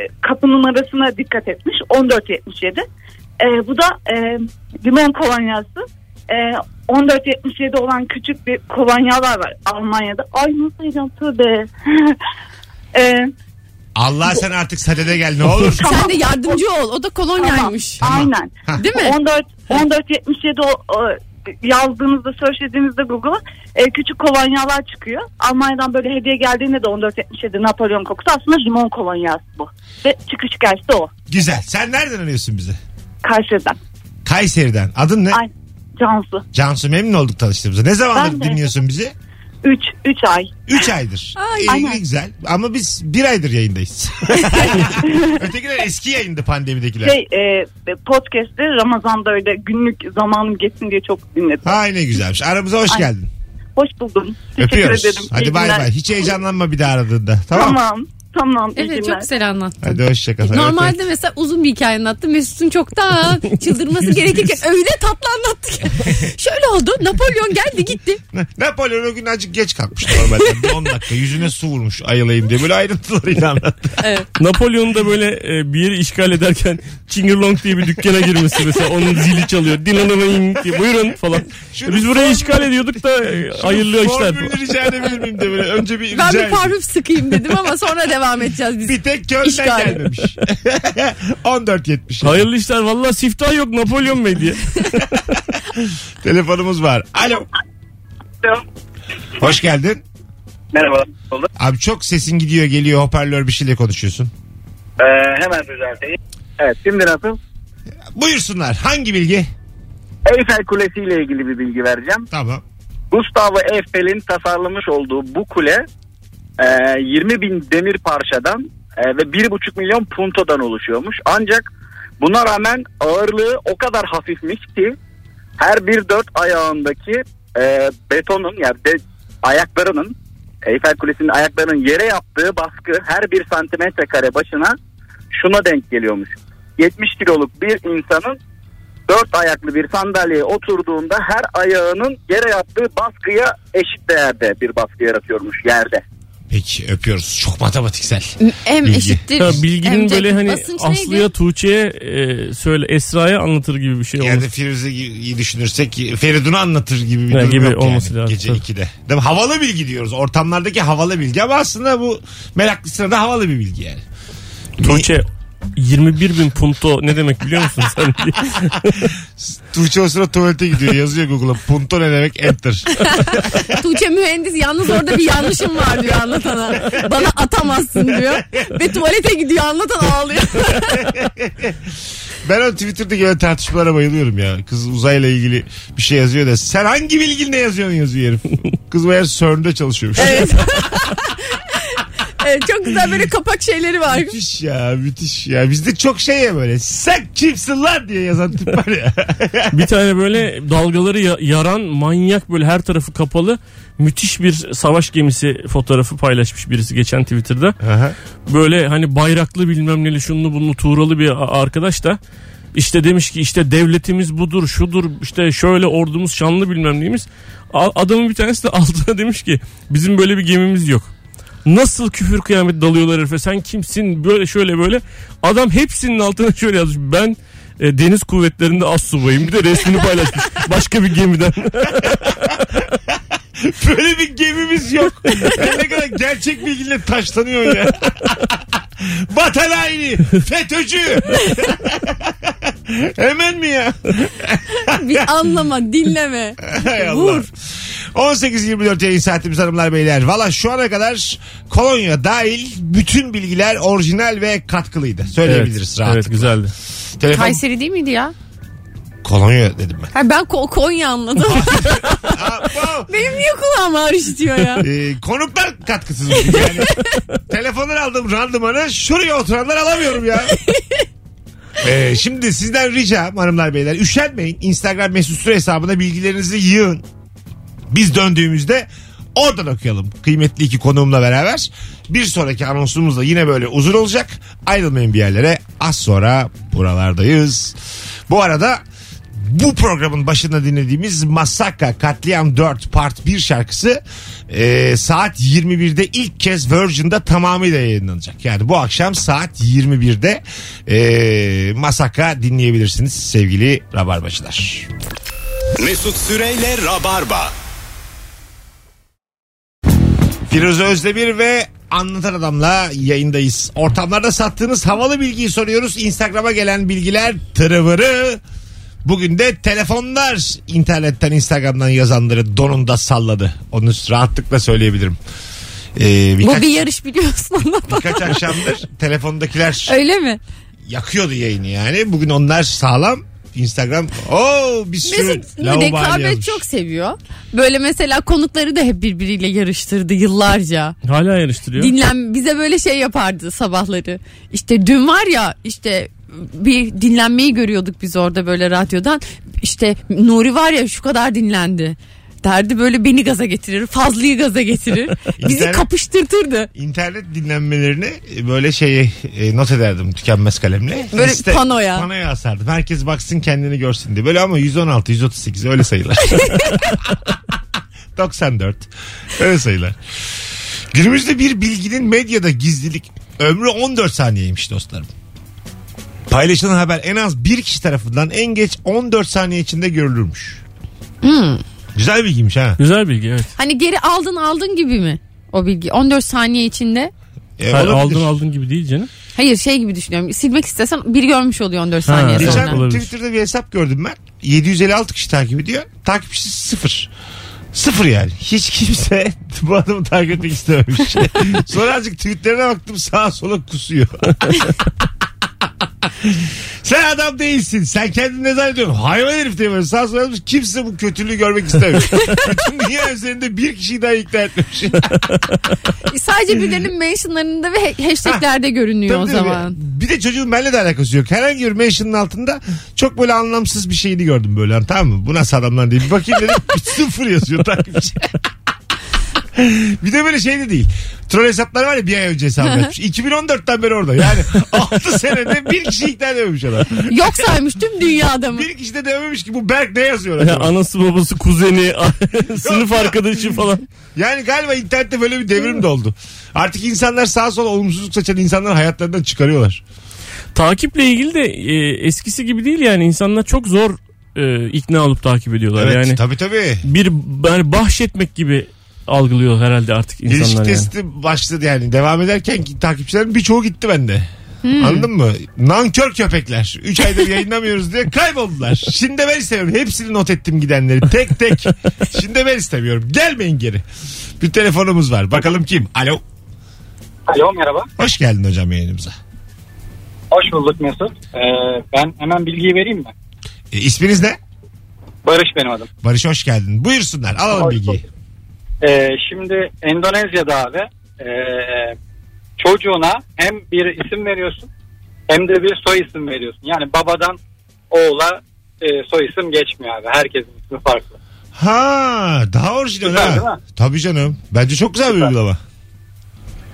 Speaker 7: e, kapı numarasına dikkat etmiş. 1477. E, bu da e, limon kolonyası. E, 1477 olan küçük bir kolonyalar var Almanya'da. Ay nasıl heyecan tövbe. e,
Speaker 2: Allah sen artık sadede gel ne olur.
Speaker 4: Sen de yardımcı ol. O da kolonyaymış.
Speaker 7: Tamam. Aynen.
Speaker 4: Değil mi?
Speaker 7: 14 1477 o, o, yazdığınızda search ettiğinizde Google'a e, küçük kolonyalar çıkıyor. Almanya'dan böyle hediye geldiğinde de 1477 Napolyon kokusu aslında limon kolonyası bu. Ve çıkış hikayesi de o.
Speaker 2: Güzel. Sen nereden arıyorsun bizi?
Speaker 7: Karşıdan.
Speaker 2: Kayseri'den. Adın ne?
Speaker 7: Aynen. Cansu.
Speaker 2: Cansu memnun olduk tanıştığımıza. Ne zamandır
Speaker 7: Ben de.
Speaker 2: dinliyorsun bizi?
Speaker 7: 3 3 ay.
Speaker 2: 3 aydır. İyi,
Speaker 7: Aynen.
Speaker 2: ne güzel. Ama biz 1 aydır yayındayız. Ötekiler eski yayındı pandemidekiler.
Speaker 7: Şey e, podcast'te Ramazan'da öyle günlük zamanım geçsin diye çok dinledim.
Speaker 2: Ha ne güzelmiş. Aramıza hoş
Speaker 7: Ay,
Speaker 2: geldin.
Speaker 7: Hoş buldum. Teşekkür
Speaker 2: Öpüyoruz.
Speaker 7: ederim. İyi
Speaker 2: Hadi bay
Speaker 7: günler.
Speaker 2: bay. Hiç heyecanlanma bir daha aradığında. Tamam.
Speaker 7: Tamam. Tamam. iyi
Speaker 4: Evet
Speaker 7: günler.
Speaker 4: çok güzel anlattın.
Speaker 2: Hadi hoşçakal.
Speaker 4: Normalde mesela uzun bir hikaye anlattı. Mesut'un çoktan çıldırması gerekirken öyle tatlı anlattı ki. Şöyle oldu. Napolyon geldi gitti.
Speaker 2: Napolyon o gün azıcık geç kalkmış normalde. Bir 10 dakika yüzüne su vurmuş ayılayım diye böyle ayrıntılarıyla anlattı.
Speaker 3: Napolyon'un da böyle e, bir yeri işgal ederken Chingerlong diye bir dükkana girmesi mesela onun zili çalıyor. Dinananaying diye buyurun falan.
Speaker 2: Şunu
Speaker 3: Biz burayı
Speaker 2: formül-
Speaker 3: işgal ediyorduk da e, ayrılıyor işler.
Speaker 2: Formülü rica edebilir miyim de böyle. Önce bir rica
Speaker 4: Ben bir
Speaker 2: edeyim.
Speaker 4: parfüm sıkayım dedim ama sonra devam edeceğiz biz.
Speaker 2: Bir tek Köln'den
Speaker 4: İşgal.
Speaker 2: gelmemiş. 14.70.
Speaker 3: Hayırlı işler valla siftah yok Napolyon Bey diye.
Speaker 2: Telefonumuz var. Alo. Hoş geldin.
Speaker 8: Merhaba.
Speaker 2: Abi çok sesin gidiyor geliyor hoparlör bir şeyle konuşuyorsun.
Speaker 8: Ee, hemen düzelteyim.
Speaker 5: Evet şimdi nasıl?
Speaker 2: Buyursunlar. Hangi bilgi?
Speaker 8: Eyfel Kulesi ile ilgili bir bilgi vereceğim.
Speaker 2: Tamam.
Speaker 8: Gustavo Eiffel'in tasarlamış olduğu bu kule e, 20 bin demir parçadan e, ve 1,5 milyon puntodan oluşuyormuş. Ancak buna rağmen ağırlığı o kadar hafifmiş ki her bir dört ayağındaki e, betonun yani de, ayaklarının Eyfel Kulesi'nin ayaklarının yere yaptığı baskı her bir santimetre kare başına şuna denk geliyormuş. 70 kiloluk bir insanın dört ayaklı bir sandalyeye oturduğunda her ayağının yere yaptığı baskıya eşit değerde bir baskı yaratıyormuş yerde.
Speaker 2: Peki öpüyoruz. Çok matematiksel.
Speaker 4: M
Speaker 2: Bilgi.
Speaker 4: eşittir.
Speaker 3: Ha, bilginin
Speaker 4: MC
Speaker 3: böyle hani
Speaker 4: basınç neydi?
Speaker 3: Aslı'ya Tuğçe'ye e, söyle Esra'ya anlatır gibi bir şey olmuş.
Speaker 2: Yani Firuze iyi düşünürsek Feridun'u anlatır gibi bir
Speaker 3: Ya
Speaker 2: durum
Speaker 3: gibi
Speaker 2: yok
Speaker 3: olması
Speaker 2: yani.
Speaker 3: lazım.
Speaker 2: Gece
Speaker 3: Tabii.
Speaker 2: 2'de. Değil mi? Havalı bilgi diyoruz. Ortamlardaki havalı bilgi ama aslında bu meraklısına da havalı bir bilgi yani.
Speaker 3: Tuğçe 21 bin punto ne demek biliyor musun sen diye.
Speaker 2: Tuğçe o sıra tuvalete gidiyor. Yazıyor Google'a. Punto ne demek? Enter.
Speaker 4: Tuğçe mühendis yalnız orada bir yanlışım var diyor anlatana. Bana atamazsın diyor. Ve tuvalete gidiyor anlatan ağlıyor.
Speaker 2: Ben o Twitter'daki öyle tartışmalara bayılıyorum ya. Kız uzayla ilgili bir şey yazıyor da sen hangi bilginle yazıyorsun yazıyor herif. Kız meğer CERN'de çalışıyormuş.
Speaker 4: Evet. Evet, çok güzel böyle kapak şeyleri var.
Speaker 2: Müthiş ya müthiş ya. Bizde çok şey ya böyle. Sen kimsin lan diye yazan tip var ya.
Speaker 3: Bir tane böyle dalgaları ya- yaran manyak böyle her tarafı kapalı müthiş bir savaş gemisi fotoğrafı paylaşmış birisi geçen Twitter'da.
Speaker 2: Aha.
Speaker 3: böyle hani bayraklı bilmem neli şunlu bunlu tuğralı bir a- arkadaş da işte demiş ki işte devletimiz budur şudur işte şöyle ordumuz şanlı bilmem neyimiz. A- Adamın bir tanesi de altına demiş ki bizim böyle bir gemimiz yok. Nasıl küfür kıyamet dalıyorlar herife sen kimsin böyle şöyle böyle. Adam hepsinin altına şöyle yazmış ben e, deniz kuvvetlerinde as subayım bir de resmini paylaşmış başka bir gemiden.
Speaker 2: Böyle bir gemimiz yok. Ya ne kadar gerçek bilgiyle taşlanıyor ya. Vatan haini, FETÖ'cü. Hemen mi ya?
Speaker 4: Bir anlama, dinleme.
Speaker 2: Hay Allah.
Speaker 4: Vur.
Speaker 2: 18-24 yayın saatimiz hanımlar beyler. Valla şu ana kadar kolonya dahil bütün bilgiler orijinal ve katkılıydı. Söyleyebiliriz rahat.
Speaker 3: evet güzeldi.
Speaker 2: Telefon
Speaker 4: Kayseri değil miydi ya?
Speaker 2: kolonya dedim ben.
Speaker 4: Ha, ben Ko- Konya anladım.
Speaker 2: Aa, wow.
Speaker 4: Benim niye kulağım ağrış diyor ya?
Speaker 2: Ee, konuklar katkısız. bugün Yani. Telefonlar aldım randımanı. Şuraya oturanlar alamıyorum ya. Ee, şimdi sizden ricam hanımlar beyler üşenmeyin. Instagram mesut süre hesabına bilgilerinizi yığın. Biz döndüğümüzde oradan okuyalım. Kıymetli iki konuğumla beraber. Bir sonraki anonsumuz da yine böyle uzun olacak. Ayrılmayın bir yerlere. Az sonra buralardayız. Bu arada bu programın başında dinlediğimiz Masaka Katliam 4 Part 1 şarkısı e, saat 21'de ilk kez Virgin'da tamamıyla yayınlanacak. Yani bu akşam saat 21'de e, Masaka dinleyebilirsiniz sevgili Rabarbacılar.
Speaker 1: Mesut Süreyle Rabarba.
Speaker 2: Firuze Özdemir ve Anlatan Adam'la yayındayız. Ortamlarda sattığınız havalı bilgiyi soruyoruz. Instagram'a gelen bilgiler tırıvırı. Bugün de telefonlar internetten Instagram'dan yazanları donunda salladı. Onu rahatlıkla söyleyebilirim. Ee,
Speaker 4: Bu
Speaker 2: birkaç,
Speaker 4: bir yarış biliyorsun anlatan.
Speaker 2: birkaç akşamdır telefondakiler
Speaker 4: Öyle mi?
Speaker 2: yakıyordu yayını yani. Bugün onlar sağlam. Instagram o bir sürü
Speaker 4: Mesut
Speaker 2: lavabo hali
Speaker 4: rekabet
Speaker 2: yazmış.
Speaker 4: çok seviyor. Böyle mesela konukları da hep birbiriyle yarıştırdı yıllarca.
Speaker 3: Hala yarıştırıyor.
Speaker 4: Dinlen bize böyle şey yapardı sabahları. İşte dün var ya işte bir dinlenmeyi görüyorduk biz orada böyle radyodan. İşte Nuri var ya şu kadar dinlendi. derdi. Böyle beni gaza getirir. Fazlıyı gaza getirir. Bizi
Speaker 2: İnternet-
Speaker 4: kapıştırtırdı.
Speaker 2: İnternet dinlenmelerini böyle şeyi e, not ederdim tükenmez kalemle.
Speaker 4: Böyle panoya.
Speaker 2: Panoya asardım. Herkes baksın kendini görsün diye. Böyle ama 116, 138 öyle sayılar. 94. Öyle sayılar. Günümüzde bir bilginin medyada gizlilik ömrü 14 saniyeymiş dostlarım. Paylaşılan haber en az bir kişi tarafından en geç 14 saniye içinde görülürmüş.
Speaker 4: Hmm.
Speaker 2: Güzel bilgiymiş ha.
Speaker 3: Güzel bilgi evet.
Speaker 4: Hani geri aldın aldın gibi mi? O bilgi 14 saniye içinde.
Speaker 2: E,
Speaker 3: Hayır,
Speaker 2: olabilir.
Speaker 3: aldın aldın gibi değil canım.
Speaker 4: Hayır şey gibi düşünüyorum. Silmek istesen bir görmüş oluyor 14
Speaker 3: Ha,
Speaker 4: saniye
Speaker 3: geçen-
Speaker 4: sonra.
Speaker 2: Geçen
Speaker 3: Olabilir.
Speaker 2: Twitter'da bir hesap gördüm ben. 756 kişi takip ediyor. Takipçisi sıfır. Sıfır yani. Hiç kimse bu adamı takip etmek istememiş. Sonra azıcık tweetlerine baktım sağa sola kusuyor. Sen adam değilsin. Sen kendini ne zannediyorsun? Hayvan herif diye böyle sağa sola yazmış. Kimse bu kötülüğü görmek istemiyor. Bütün dünya üzerinde bir kişiyi daha ikna etmemiş.
Speaker 4: Sadece birilerinin mentionlarında ve he- hashtaglerde görünüyor o
Speaker 2: Tabii tabii.
Speaker 4: zaman.
Speaker 2: Bir de çocuğun benimle de alakası yok. Herhangi bir mention'ın altında çok böyle anlamsız bir şeyini gördüm böyle. Hani Tamam mı? Bu nasıl adamlar diye. Bir bakayım dedim. bir sıfır yazıyor takipçi. bir de böyle şey de değil. Troll hesapları var ya bir ay önce hesap yapmış. 2014'ten beri orada. Yani 6 senede bir kişi ikna edememiş adam.
Speaker 4: Yok saymış tüm dünyada mı?
Speaker 2: Bir kişi de dememiş ki bu Berk ne yazıyor
Speaker 3: Ya
Speaker 2: acaba?
Speaker 3: anası babası kuzeni sınıf arkadaşı falan.
Speaker 2: Yani galiba internette böyle bir devrim de oldu. Artık insanlar sağa sola olumsuzluk saçan insanları hayatlarından çıkarıyorlar.
Speaker 3: Takiple ilgili de e, eskisi gibi değil yani insanlar çok zor e, ikna olup takip ediyorlar.
Speaker 2: Evet
Speaker 3: yani
Speaker 2: tabii tabii.
Speaker 3: bir yani bahşetmek gibi algılıyor herhalde artık
Speaker 2: İlişki
Speaker 3: insanlar yani.
Speaker 2: testi başladı yani. Devam ederken ki takipçilerin birçoğu gitti bende. Anladın mı? Nankör köpekler. 3 aydır yayınlamıyoruz diye kayboldular. Şimdi de ben istemiyorum. Hepsini not ettim gidenleri. Tek tek. Şimdi de ben istemiyorum. Gelmeyin geri. Bir telefonumuz var. Bakalım kim? Alo.
Speaker 9: Alo merhaba.
Speaker 2: Hoş geldin hocam yayınımıza.
Speaker 9: Hoş bulduk Mesut. Ee, ben hemen bilgiyi vereyim mi?
Speaker 2: E, isminiz ne?
Speaker 9: Barış benim adım.
Speaker 2: Barış hoş geldin. Buyursunlar. Alalım
Speaker 9: Hoş
Speaker 2: bilgiyi.
Speaker 9: Ee, şimdi Endonezya'da abi e, çocuğuna hem bir isim veriyorsun hem de bir soy isim veriyorsun. Yani babadan oğula e, soy isim geçmiyor abi. Herkesin ismi farklı.
Speaker 2: Ha, daha orijinal
Speaker 9: Süper, değil
Speaker 2: ha.
Speaker 9: mi?
Speaker 2: Tabii canım. Bence çok güzel bir
Speaker 9: Süper.
Speaker 2: uygulama.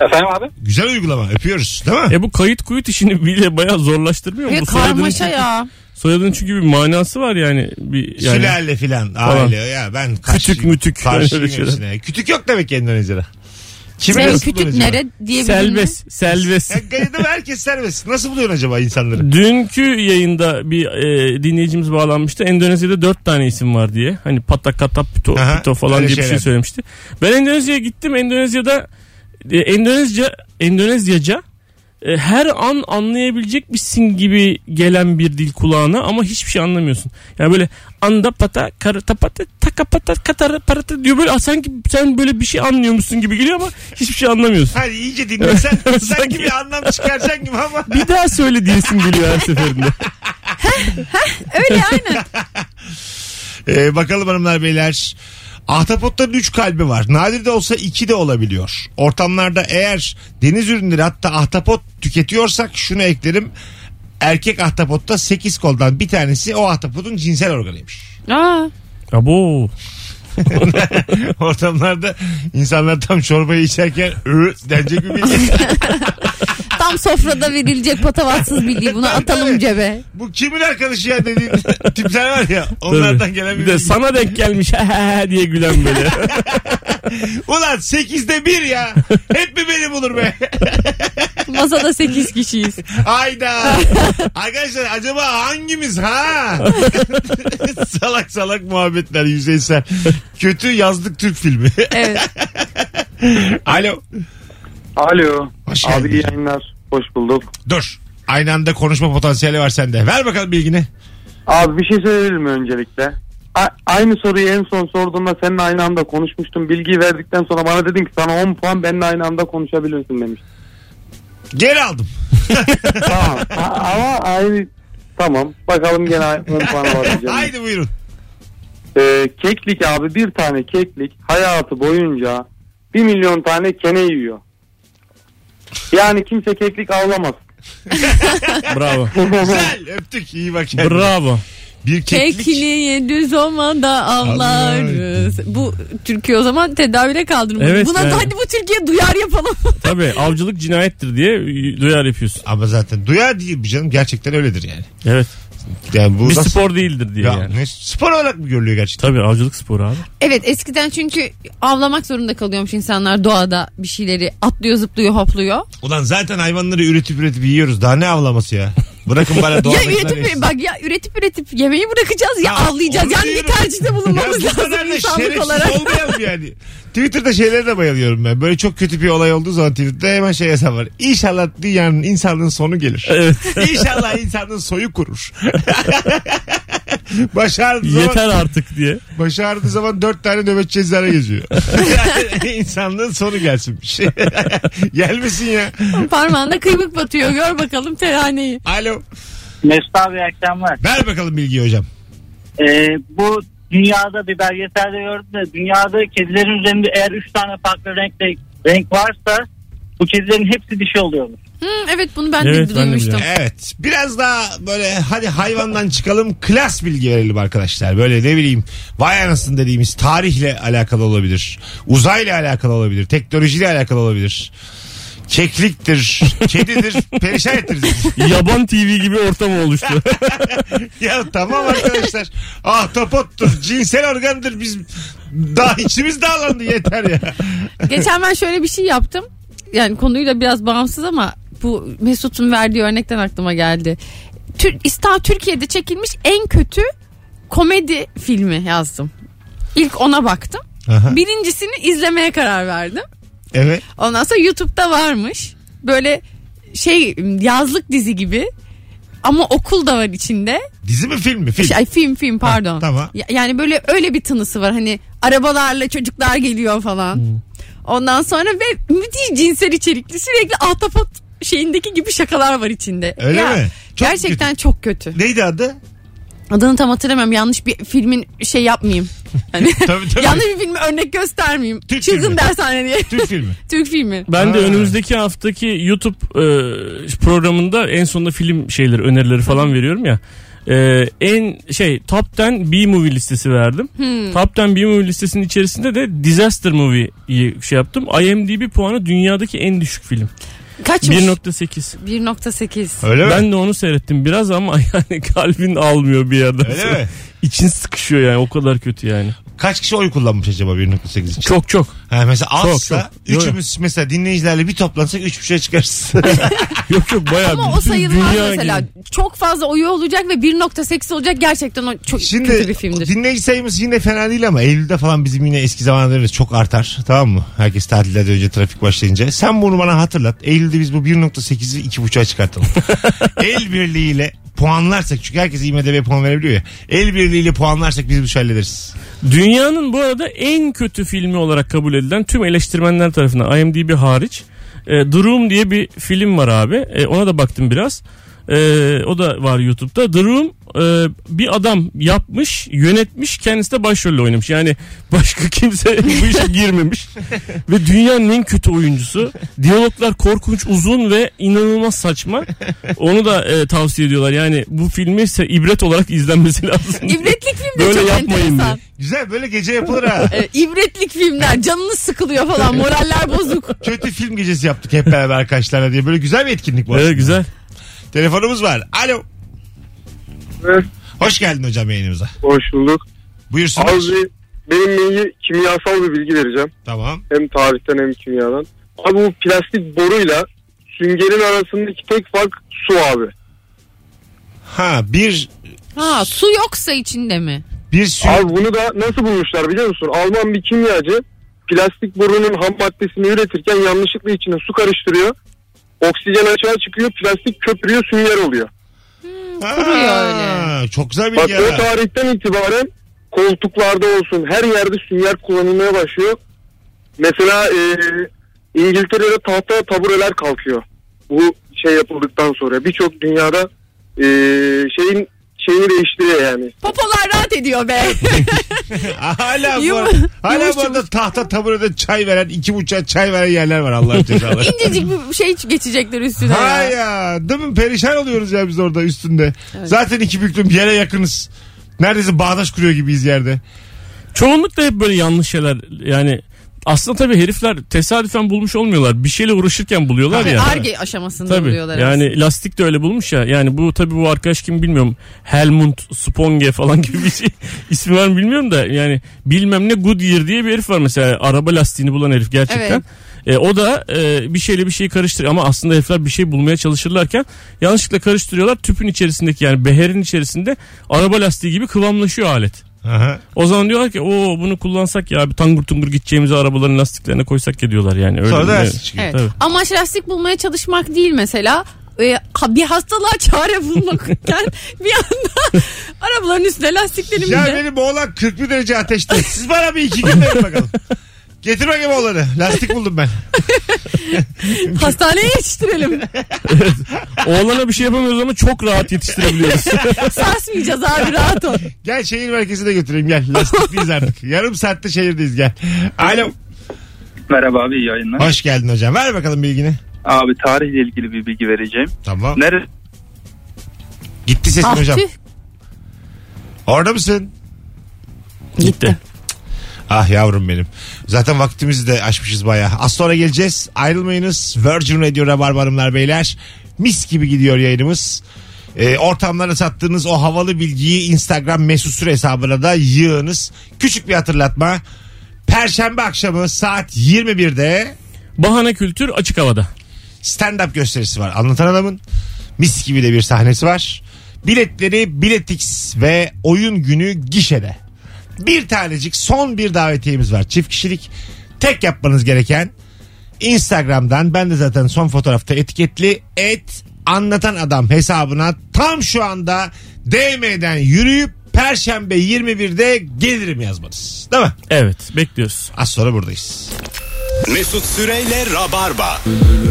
Speaker 9: Efendim abi?
Speaker 2: Güzel uygulama. Öpüyoruz. Değil mi?
Speaker 3: E bu kayıt kuyut işini bile bayağı zorlaştırmıyor mu?
Speaker 4: Ya
Speaker 3: Bu soyadın
Speaker 4: karmaşa
Speaker 3: çünkü-
Speaker 4: ya.
Speaker 3: Soyadın çünkü bir manası var yani. Bir, yani
Speaker 2: Sülale filan aile ya ben
Speaker 3: Kütük mütük.
Speaker 2: karşıyım
Speaker 3: Öyle şeyler.
Speaker 2: hepsine. Kütük yok demek ki Endonezya'da. Kime
Speaker 4: Senin
Speaker 2: nasıl
Speaker 4: kütük
Speaker 2: buluyorsun acaba?
Speaker 4: nere diyebilir mi?
Speaker 3: Selbes, selbes.
Speaker 2: Ya Gayada herkes serbest. Nasıl buluyorsun acaba insanları?
Speaker 3: Dünkü yayında bir e, dinleyicimiz bağlanmıştı. Endonezya'da dört tane isim var diye. Hani patak katap pito,
Speaker 2: Aha,
Speaker 3: pito falan
Speaker 2: öyle
Speaker 3: diye bir
Speaker 2: şeyler.
Speaker 3: şey söylemişti. Ben Endonezya'ya gittim. Endonezya'da e, Endonezya Endonezyaca e, her an anlayabilecek misin gibi gelen bir dil kulağına ama hiçbir şey anlamıyorsun. Yani böyle anda pata karata pata taka pata katara parata diyor böyle "Aa, sanki sen böyle bir şey anlıyormuşsun gibi geliyor ama hiçbir şey anlamıyorsun.
Speaker 2: Hani iyice dinlesen
Speaker 3: Evet,
Speaker 2: sanki
Speaker 3: sanki.
Speaker 2: bir anlam çıkaracaksın gibi ama.
Speaker 3: Bir daha söyle diyesin geliyor her seferinde.
Speaker 4: Öyle aynen.
Speaker 2: Ee, bakalım hanımlar beyler. Ahtapotların 3 kalbi var. Nadir de olsa 2 de olabiliyor. Ortamlarda eğer deniz ürünleri hatta ahtapot tüketiyorsak şunu eklerim. Erkek ahtapotta 8 koldan bir tanesi o ahtapotun cinsel organıymış.
Speaker 4: Aa,
Speaker 3: Abo.
Speaker 2: Ortamlarda insanlar tam çorbayı içerken ö denecek bir bilgi.
Speaker 4: tam sofrada verilecek patavatsız bilgi. Bunu atalım cebe.
Speaker 2: Bu kimin arkadaşı ya dediğin tipler var ya onlardan
Speaker 3: Tabii.
Speaker 2: gelen bir,
Speaker 3: bir de
Speaker 2: bilgi.
Speaker 3: sana denk gelmiş diye gülen böyle.
Speaker 2: Ulan 8'de 1 ya. Hep mi beni bulur be?
Speaker 4: Masada 8 kişiyiz.
Speaker 2: Ayda. Arkadaşlar acaba hangimiz ha? salak salak muhabbetler yüzeysel. Kötü yazlık Türk filmi.
Speaker 4: Evet.
Speaker 2: Alo.
Speaker 5: Alo.
Speaker 2: Hoş
Speaker 5: Abi
Speaker 2: geldin.
Speaker 5: iyi yayınlar. Hoş bulduk.
Speaker 2: Dur. Aynı anda konuşma potansiyeli var sende. Ver bakalım bilgini.
Speaker 5: Abi bir şey söyleyebilir mi öncelikle? A- aynı soruyu en son sorduğumda seninle aynı anda konuşmuştum. Bilgiyi verdikten sonra bana dedin ki sana 10 puan benimle aynı anda konuşabilirsin demiş.
Speaker 2: Geri aldım.
Speaker 5: tamam. A- ama aynı... Tamam. Bakalım gene 10 puan alabileceğim.
Speaker 2: Haydi buyurun.
Speaker 5: Ee, keklik abi bir tane keklik hayatı boyunca bir milyon tane kene yiyor. Yani kimse keklik avlamaz.
Speaker 3: Bravo.
Speaker 2: Güzel öptük iyi bak kendine.
Speaker 3: Bravo.
Speaker 2: Bir keklik.
Speaker 4: Kekliği düz omanda avlarız. Bu Türkiye o zaman tedavüle kaldırmalı.
Speaker 3: Evet,
Speaker 4: Buna
Speaker 3: evet.
Speaker 4: da hadi bu Türkiye duyar yapalım.
Speaker 3: Tabii avcılık cinayettir diye duyar yapıyorsun.
Speaker 2: Ama zaten duyar değil bu canım. Gerçekten öyledir yani.
Speaker 3: Evet.
Speaker 2: Yani bu
Speaker 3: Bir
Speaker 2: nasıl-
Speaker 3: spor değildir diye
Speaker 2: Ya
Speaker 3: yani.
Speaker 2: ne- spor olarak mı görülüyor gerçekten?
Speaker 3: Tabii avcılık sporu abi.
Speaker 4: evet eskiden çünkü avlamak zorunda kalıyormuş insanlar doğada bir şeyleri atlıyor zıplıyor hopluyor.
Speaker 2: Ulan zaten hayvanları üretip üretip yiyoruz. Daha ne avlaması ya? Bırakın bana
Speaker 4: Ya
Speaker 2: doğadakiler
Speaker 4: üretip
Speaker 2: yesin.
Speaker 4: bak ya üretip üretip yemeği bırakacağız ya
Speaker 2: Ha,
Speaker 4: avlayacağız.
Speaker 2: onu
Speaker 4: Yani bir
Speaker 2: diyorum.
Speaker 4: tercihte bulunmamız
Speaker 2: Ya bu kadar
Speaker 4: lazım
Speaker 2: da
Speaker 4: insanlık
Speaker 2: şerefsiz
Speaker 4: olarak.
Speaker 2: olmayalım yani. Twitter'da şeylere de bayılıyorum ben. Böyle çok kötü bir olay olduğu zaman Twitter'da hemen şey hesap var. İnşallah dünyanın insanlığın sonu gelir. İnşallah insanın soyu kurur. başardığı zaman,
Speaker 3: Yeter artık diye.
Speaker 2: başardığı zaman dört tane nöbetçi eczane geziyor. yani insanlığın sonu gelsinmiş. Gelmesin ya.
Speaker 4: Parmağında kıymık batıyor gör bakalım teraneyi.
Speaker 2: Alo.
Speaker 6: Mesut abi akşamlar.
Speaker 2: Ver bakalım bilgiyi hocam.
Speaker 6: Ee, bu dünyada bir belgeselde gördüm de dünyada kedilerin üzerinde eğer 3 tane farklı renkte renk varsa bu kedilerin hepsi dişi oluyormuş.
Speaker 4: Hı, evet bunu ben
Speaker 3: Evet, ben
Speaker 4: de
Speaker 3: de
Speaker 4: duymuştum.
Speaker 3: biliyorum.
Speaker 2: Evet. Biraz daha böyle hadi hayvandan çıkalım klas bilgi verelim arkadaşlar. Böyle ne bileyim vay anasını dediğimiz tarihle alakalı olabilir. Uzayla alakalı olabilir. Teknolojiyle alakalı olabilir. Kekliktir, kedidir, perişan ettiriz.
Speaker 3: Yaban TV gibi ortam oluştu.
Speaker 2: ya tamam arkadaşlar. Ahtapottur, cinsel organdır. Biz daha içimiz dağlandı yeter ya.
Speaker 4: Geçen ben şöyle bir şey yaptım. Yani konuyla biraz bağımsız ama bu Mesut'un verdiği örnekten aklıma geldi. Tür İsta- Türkiye'de çekilmiş en kötü komedi filmi yazdım. İlk ona baktım.
Speaker 2: Aha,
Speaker 4: Birincisini izlemeye karar verdim.
Speaker 2: evet.
Speaker 4: Ondan sonra YouTube'da varmış. Böyle şey yazlık dizi gibi ama okul da var içinde.
Speaker 2: Dizi mi film mi? Film.
Speaker 4: Şey, ay, film film pardon.
Speaker 2: Ha, tamam.
Speaker 4: Ya- yani böyle öyle bir tınısı var hani arabalarla çocuklar geliyor falan.
Speaker 2: Hmm.
Speaker 4: Ondan sonra ve müthiş cinsel içerikli sürekli ahtapot şeyindeki gibi şakalar var içinde.
Speaker 2: Öyle
Speaker 4: Ya,
Speaker 2: mi? Çok
Speaker 4: gerçekten çok kötü.
Speaker 2: Neydi adı?
Speaker 4: Adını tam hatırlamıyorum. Yanlış bir filmin şey yapmayayım. Hani
Speaker 2: Tabii, tabii.
Speaker 4: yanlış bir filmi örnek göstermeyeyim.
Speaker 2: Türk
Speaker 4: Çılgın
Speaker 2: filmi.
Speaker 4: dershane diye.
Speaker 2: Türk filmi.
Speaker 4: Türk filmi.
Speaker 3: Ben de
Speaker 2: Ha.
Speaker 3: önümüzdeki haftaki YouTube e, programında en sonunda film şeyleri önerileri falan veriyorum ya. E, en şey Top 10 B-Movie listesi verdim.
Speaker 4: Hmm.
Speaker 3: Top 10 B-Movie listesinin içerisinde de Disaster Movie'yi şey yaptım. IMDb puanı dünyadaki en düşük film.
Speaker 4: Kaçmış?
Speaker 3: 1.8.
Speaker 4: 1.8.
Speaker 2: Öyle mi?
Speaker 3: Ben de onu seyrettim biraz ama yani kalbin almıyor bir yerden
Speaker 2: Öyle
Speaker 3: sonra.
Speaker 2: mi?
Speaker 3: İçin sıkışıyor yani o kadar kötü yani.
Speaker 2: Kaç kişi oy kullanmış acaba 1.8 için?
Speaker 3: Çok çok.
Speaker 2: Ha mesela
Speaker 3: Çok,
Speaker 2: azsa
Speaker 3: çok. Yo, yo.
Speaker 2: üçümüz mesela dinleyicilerle bir toplansak üç buçuğa çıkarız.
Speaker 3: Yok yok bayağı
Speaker 4: Ama
Speaker 3: bütün
Speaker 4: o sayılmaz
Speaker 3: dünya
Speaker 4: mesela.
Speaker 3: gibi.
Speaker 4: Çok fazla oyu olacak ve 1.8 olacak. Gerçekten o çok kötü bir
Speaker 2: Şimdi
Speaker 4: filmdir.
Speaker 2: dinleyici sayımız yine fena değil ama Eylül'de falan bizim yine eski zamanlarımız çok artar. Tamam mı? Herkes tatillerden önce trafik başlayınca. Sen bunu bana hatırlat. Eylül'de biz bu 1.8'i 2.5'a çıkartalım. El birliğiyle puanlarsak çünkü herkes IMDB puan verebiliyor ya. El birliğiyle puanlarsak biz bu işi hallederiz.
Speaker 3: Dünyanın bu arada en kötü filmi olarak kabul edilen tüm eleştirmenler tarafından IMDb hariç e, The Room diye bir film var abi. E, ona da baktım biraz. E, o da var YouTube'da. The Room e, bir adam yapmış, yönetmiş, kendisi de başrolle oynamış. Yani başka kimse bu işe girmemiş. ve dünyanın en kötü oyuncusu. Diyaloglar korkunç, uzun ve inanılmaz saçma. Onu da e, tavsiye ediyorlar. Yani bu filmi ise ibret olarak izlenmesi lazım.
Speaker 4: İbretlik film de
Speaker 3: Böyle
Speaker 4: çok
Speaker 3: yapmayın
Speaker 4: enteresan.
Speaker 2: Güzel böyle gece yapılır ha.
Speaker 4: Ee, ibretlik filmler canınız sıkılıyor falan moraller bozuk.
Speaker 2: Kötü film gecesi yaptık hep beraber arkadaşlarla diye. Böyle güzel bir etkinlik bu aslında.
Speaker 3: Evet güzel.
Speaker 2: Telefonumuz var. Alo. Hoş geldin hocam yayınımıza.
Speaker 10: Hoş bulduk.
Speaker 2: Buyursun.
Speaker 10: Abi benim bilgi kimyasal bir bilgi vereceğim.
Speaker 2: Tamam.
Speaker 10: Hem tarihten hem kimyadan. Abi bu plastik boruyla süngerin arasındaki tek fark su abi.
Speaker 2: Ha bir
Speaker 4: Ha su yoksa içinde mi?
Speaker 2: bir sü-
Speaker 10: Abi bunu da nasıl bulmuşlar biliyor musun? Alman bir kimyacı plastik borunun ham maddesini üretirken yanlışlıkla içine su karıştırıyor. Oksijen açığa çıkıyor, plastik köprüyor, sünger oluyor.
Speaker 2: Ha,
Speaker 4: kuruyor öyle.
Speaker 2: Çok güzel
Speaker 10: Bak
Speaker 2: bilgi
Speaker 10: o
Speaker 2: ya.
Speaker 10: tarihten itibaren koltuklarda olsun her yerde sünger kullanılmaya başlıyor. Mesela e, İngiltere'de tahta tabureler kalkıyor. Bu şey yapıldıktan sonra birçok dünyada e, şeyin şeyini değiştiriyor yani.
Speaker 4: Popolar rahat ediyor be.
Speaker 2: Hala bu
Speaker 4: Yum-
Speaker 2: arada, hala
Speaker 4: yumuş
Speaker 2: bu arada
Speaker 4: yumuş.
Speaker 2: tahta taburede çay veren iki buçuğa çay veren yerler var Allah'ın cezaları.
Speaker 4: İncecik bir şey geçecekler üstüne.
Speaker 2: Ha
Speaker 4: ya.
Speaker 2: ya değil mi? Perişan oluyoruz ya biz orada üstünde. Zaten iki büklüm yere yakınız. Neredeyse bağdaş kuruyor gibiyiz yerde.
Speaker 3: Çoğunlukla hep böyle yanlış şeyler yani aslında tabii herifler tesadüfen bulmuş olmuyorlar. Bir şeyle uğraşırken buluyorlar ya.
Speaker 4: Arge aşamasında
Speaker 3: Tabii.
Speaker 4: buluyorlar.
Speaker 3: Yani lastik de öyle bulmuş ya. Yani bu tabii bu arkadaş kim bilmiyorum. Helmut Sponge falan gibi bir şey. İsmi var mı bilmiyorum da yani bilmem ne Goodyear diye bir herif var mesela. Araba lastiğini bulan herif gerçekten. E, o da e, bir şeyle bir şeyi karıştırıyor ama aslında herifler bir şey bulmaya çalışırlarken yanlışlıkla karıştırıyorlar. Tüpün içerisindeki yani beherin içerisinde araba lastiği gibi kıvamlaşıyor alet.
Speaker 2: Aha.
Speaker 3: O zaman diyorlar ki o bunu kullansak ya bir tangur tungur gideceğimizi arabaların lastiklerine koysak ya diyorlar yani. Öyle
Speaker 2: Sonra da
Speaker 3: bir-
Speaker 2: lastik çıkıyor.
Speaker 4: Evet.
Speaker 3: Tabii.
Speaker 4: Amaç lastik bulmaya çalışmak değil mesela. Ee, ha- bir hastalığa çare bulmakken bir anda arabaların üstüne lastiklerin bir
Speaker 2: Ya
Speaker 4: de-
Speaker 2: benim oğlan 41 derece ateşte. Siz bana bir iki gün verin bakalım. Getir bakayım oğlanı. Lastik buldum ben.
Speaker 4: hastaneye yetiştirelim.
Speaker 3: Oğlana bir şey yapamıyoruz ama çok rahat yetiştirebiliyoruz.
Speaker 4: Sarsmayacağız abi rahat ol.
Speaker 2: Gel şehir merkezine götüreyim gel. Lastikliyiz artık. Yarım saatte şehirdeyiz gel. Alo.
Speaker 8: Merhaba abi iyi yayınlar.
Speaker 2: Hoş geldin hocam. Ver bakalım bilgini.
Speaker 8: Abi tarihle ilgili bir bilgi vereceğim.
Speaker 2: Tamam.
Speaker 8: Neresi?
Speaker 2: Gitti sesin
Speaker 4: Ah
Speaker 2: hocam.
Speaker 4: tüh.
Speaker 2: Orada mısın?
Speaker 3: Gitti.
Speaker 2: Ah yavrum benim. Zaten vaktimizi de aşmışız bayağı. Az sonra geleceğiz. Ayrılmayınız. Virgin Radio Rabarba Hanımlar Beyler. Mis gibi gidiyor yayınımız. Ee, ortamlara sattığınız o havalı bilgiyi Instagram mesut süre hesabına da yığınız. Küçük bir hatırlatma. Perşembe akşamı saat 21'de
Speaker 3: Bahane kültür açık havada.
Speaker 2: stand-up gösterisi var. Anlatan adamın mis gibi de bir sahnesi var. Biletleri Biletix ve oyun günü gişede. Bir tanecik son bir davetiyemiz var. Çift kişilik. Tek yapmanız gereken Instagram'dan ben de zaten son fotoğrafta etiketli et anlatan adam hesabına tam şu anda DM'den yürüyüp Perşembe 21'de gelirim yazmanız. Değil mi?
Speaker 3: Evet bekliyoruz.
Speaker 2: Az sonra buradayız.
Speaker 1: Mesut Süreyle Rabarba.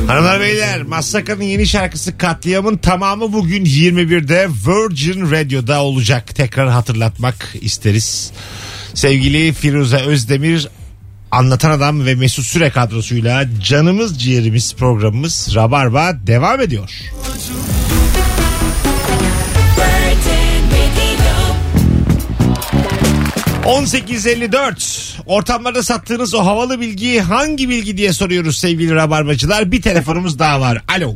Speaker 2: Hanımlar beyler Massaka'nın yeni şarkısı Katliam'ın tamamı bugün 21'de Virgin Radio'da olacak. Tekrar hatırlatmak isteriz. Sevgili Firuze Özdemir Anlatan Adam ve Mesut Süre kadrosuyla canımız ciğerimiz programımız Rabarba devam ediyor. ...1854... ...ortamlarda sattığınız o havalı bilgiyi... ...hangi bilgi diye soruyoruz sevgili rabarbacılar... ...bir telefonumuz daha var... ...alo...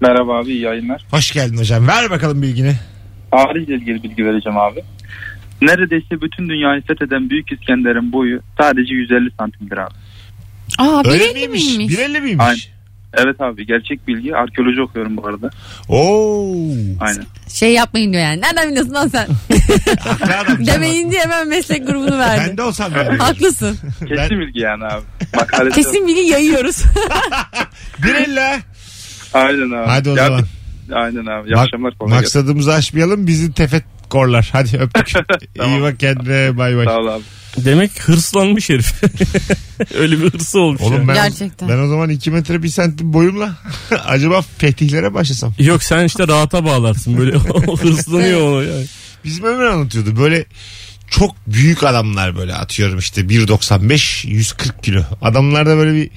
Speaker 9: Merhaba abi iyi yayınlar.
Speaker 2: ...hoş geldin hocam... ...ver bakalım bilgini...
Speaker 9: Tarihle ilgili bilgi vereceğim abi. Neredeyse bütün dünyayı fetheden Büyük İskender'in boyu sadece 150 santimdir abi.
Speaker 4: Aa,
Speaker 2: Öyle
Speaker 4: bir
Speaker 2: miymiş?
Speaker 4: miymiş?
Speaker 2: Birelli miymiş?
Speaker 9: Aynen. Evet abi gerçek bilgi. Arkeoloji okuyorum bu arada.
Speaker 2: Oo.
Speaker 9: Aynen.
Speaker 4: Şey yapmayın diyor yani. Nereden biliyorsun lan sen?
Speaker 2: Haklı adam.
Speaker 4: Demeyin diye hemen meslek grubunu
Speaker 2: şey Ben
Speaker 4: verdi.
Speaker 2: de olsam ben.
Speaker 4: Haklısın.
Speaker 9: Kesin
Speaker 2: ben
Speaker 9: bilgi yani abi. Makalesi yok.
Speaker 4: Kesin bilgi yayıyoruz. şey.
Speaker 2: Birelli. ha.
Speaker 9: Aynen abi.
Speaker 2: Hadi o
Speaker 9: Ya-
Speaker 2: zaman.
Speaker 9: Aynen abi. İyi
Speaker 2: Bak-
Speaker 9: akşamlar. kolay gelsin.
Speaker 2: maksadımızı aşmayalım. Bizi tefet korlar. Hadi öptük. İyi
Speaker 9: Tamam.
Speaker 2: bak kendine. Bay bay.
Speaker 9: Sağ ol abi.
Speaker 3: Demek hırslanmış herif. Öyle bir hırsı olmuş. ya.
Speaker 2: Oğlum ben,
Speaker 4: Gerçekten.
Speaker 2: ben o zaman 2 metre 1 santim boyumla acaba fetihlere başlasam.
Speaker 3: Yok sen işte rahata bağlarsın böyle O hırslanıyor onu yani.
Speaker 2: Bizim Ömer anlatıyordu böyle çok büyük adamlar böyle atıyorum işte 1.95 140 kilo. Adamlarda böyle bir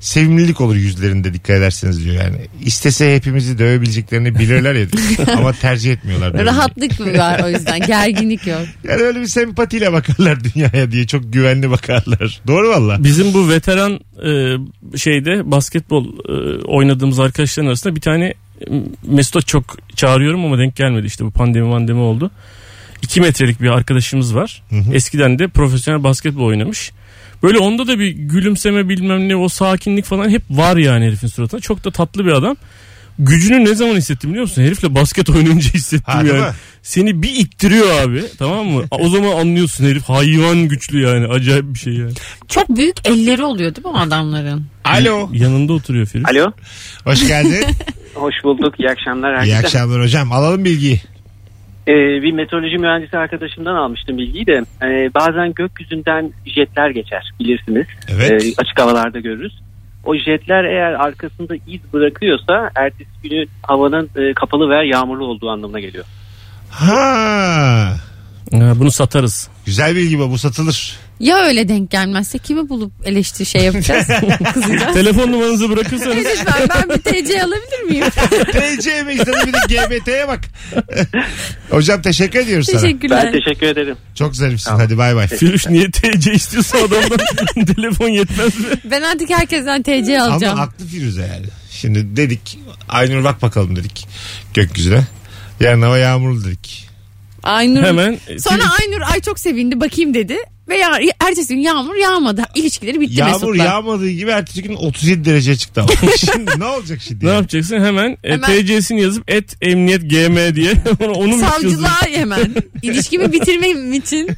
Speaker 2: sevimlilik olur yüzlerinde dikkat ederseniz diyor yani. İstese hepimizi dövebileceklerini bilirler ya diyor. ama tercih etmiyorlar. böyle.
Speaker 4: Rahatlık mı var o yüzden? Gerginlik yok.
Speaker 2: Yani öyle bir sempatiyle bakarlar dünyaya diye çok güvenli bakarlar. Doğru valla.
Speaker 3: Bizim bu veteran e, şeyde basketbol e, oynadığımız arkadaşların arasında bir tane e, Mesut'a çok çağırıyorum ama denk gelmedi işte bu pandemi mandemi oldu. 2 metrelik bir arkadaşımız var. Eskiden de profesyonel basketbol oynamış. Böyle onda da bir gülümseme bilmem ne o sakinlik falan hep var yani herifin suratında. Çok da tatlı bir adam. Gücünü ne zaman hissettim biliyor musun? Herifle basket oynayınca hissettim
Speaker 2: Ha, değil
Speaker 3: yani.
Speaker 2: mi?
Speaker 3: Seni bir ittiriyor abi tamam mı? O zaman anlıyorsun herif hayvan güçlü yani acayip bir şey yani.
Speaker 4: Çok büyük elleri oluyor değil mi adamların?
Speaker 2: Alo.
Speaker 3: Yanında oturuyor Firuze.
Speaker 11: Alo.
Speaker 2: Hoş geldin.
Speaker 11: Hoş bulduk. İyi akşamlar
Speaker 2: İyi
Speaker 11: herkese.
Speaker 2: akşamlar hocam. Alalım bilgiyi.
Speaker 11: Ee, bir meteoroloji mühendisi arkadaşımdan almıştım bilgiyi de. Ee, bazen gökyüzünden jetler geçer bilirsiniz.
Speaker 2: Evet.
Speaker 11: Ee, açık havalarda görürüz. O jetler eğer arkasında iz bırakıyorsa ertesi günü havanın e, kapalı veya yağmurlu olduğu anlamına geliyor.
Speaker 2: Ha.
Speaker 3: Ha, bunu satarız.
Speaker 2: Güzel bilgi bu. Bu satılır.
Speaker 4: Ya öyle denk gelmezse kimi bulup eleştiri şey yapacağız? Kızacağız.
Speaker 3: Telefon numaranızı bırakırsanız
Speaker 4: Lütfen ben bir TC alabilir miyim?
Speaker 2: TC mi istedim bir de GBT'ye bak. Hocam teşekkür ediyoruz sana.
Speaker 4: Teşekkürler.
Speaker 11: teşekkür ederim.
Speaker 2: Çok zarifsin hadi bay bay.
Speaker 3: Firuş niye TC istiyorsa adamdan telefon yetmez mi?
Speaker 4: Ben artık herkesten TC alacağım.
Speaker 2: Ama haklı Firuze yani. Şimdi dedik Aynur bak bakalım dedik gökyüzüne. Yarın hava yağmurlu dedik.
Speaker 4: Aynur.
Speaker 3: Hemen e,
Speaker 4: Sonra Aynur ay çok sevindi bakayım dedi. Ve ya, ertesi gün yağmur yağmadı. İlişkileri bitti
Speaker 2: Yağmur
Speaker 4: Mesut'la.
Speaker 2: yağmadığı gibi ertesi gün 37 dereceye çıktı ama. şimdi ne olacak şimdi?
Speaker 3: ne yapacaksın? Hemen, e,
Speaker 4: Hemen-
Speaker 3: TC'sini yazıp et emniyet gm diye onu, onu mu yazıyorsun?
Speaker 4: Savcılığa hemen. İlişkimi bitirmem için.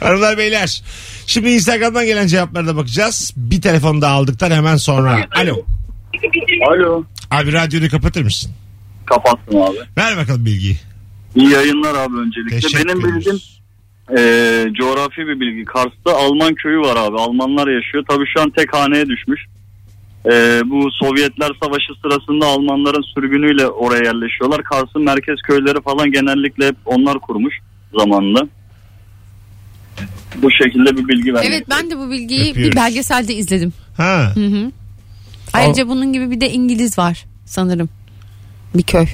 Speaker 2: Hanımlar beyler. Şimdi Instagram'dan gelen cevaplara da bakacağız. Bir telefon daha aldıktan hemen sonra. Alo.
Speaker 10: Alo.
Speaker 2: Abi radyonu kapatır mısın?
Speaker 10: Kapattım abi.
Speaker 2: Ver bakalım bilgiyi.
Speaker 10: İyi yayınlar abi öncelikle.
Speaker 2: Teşekkür
Speaker 10: Benim
Speaker 2: ediyoruz.
Speaker 10: bildiğim Ee, coğrafi bir bilgi. Kars'ta Alman köyü var abi. Almanlar yaşıyor. Tabii şu an tek haneye düşmüş. Ee, bu Sovyetler Savaşı sırasında Almanların sürgünüyle oraya yerleşiyorlar. Kars'ın merkez köyleri falan genellikle hep onlar kurmuş zamanında. Bu şekilde bir bilgi vermek.
Speaker 4: Evet ben de bu bilgiyi
Speaker 2: Öpüyoruz.
Speaker 4: bir belgeselde izledim.
Speaker 2: Ha.
Speaker 4: Hı hı. Ayrıca bunun gibi bir de İngiliz var sanırım. Bir köy.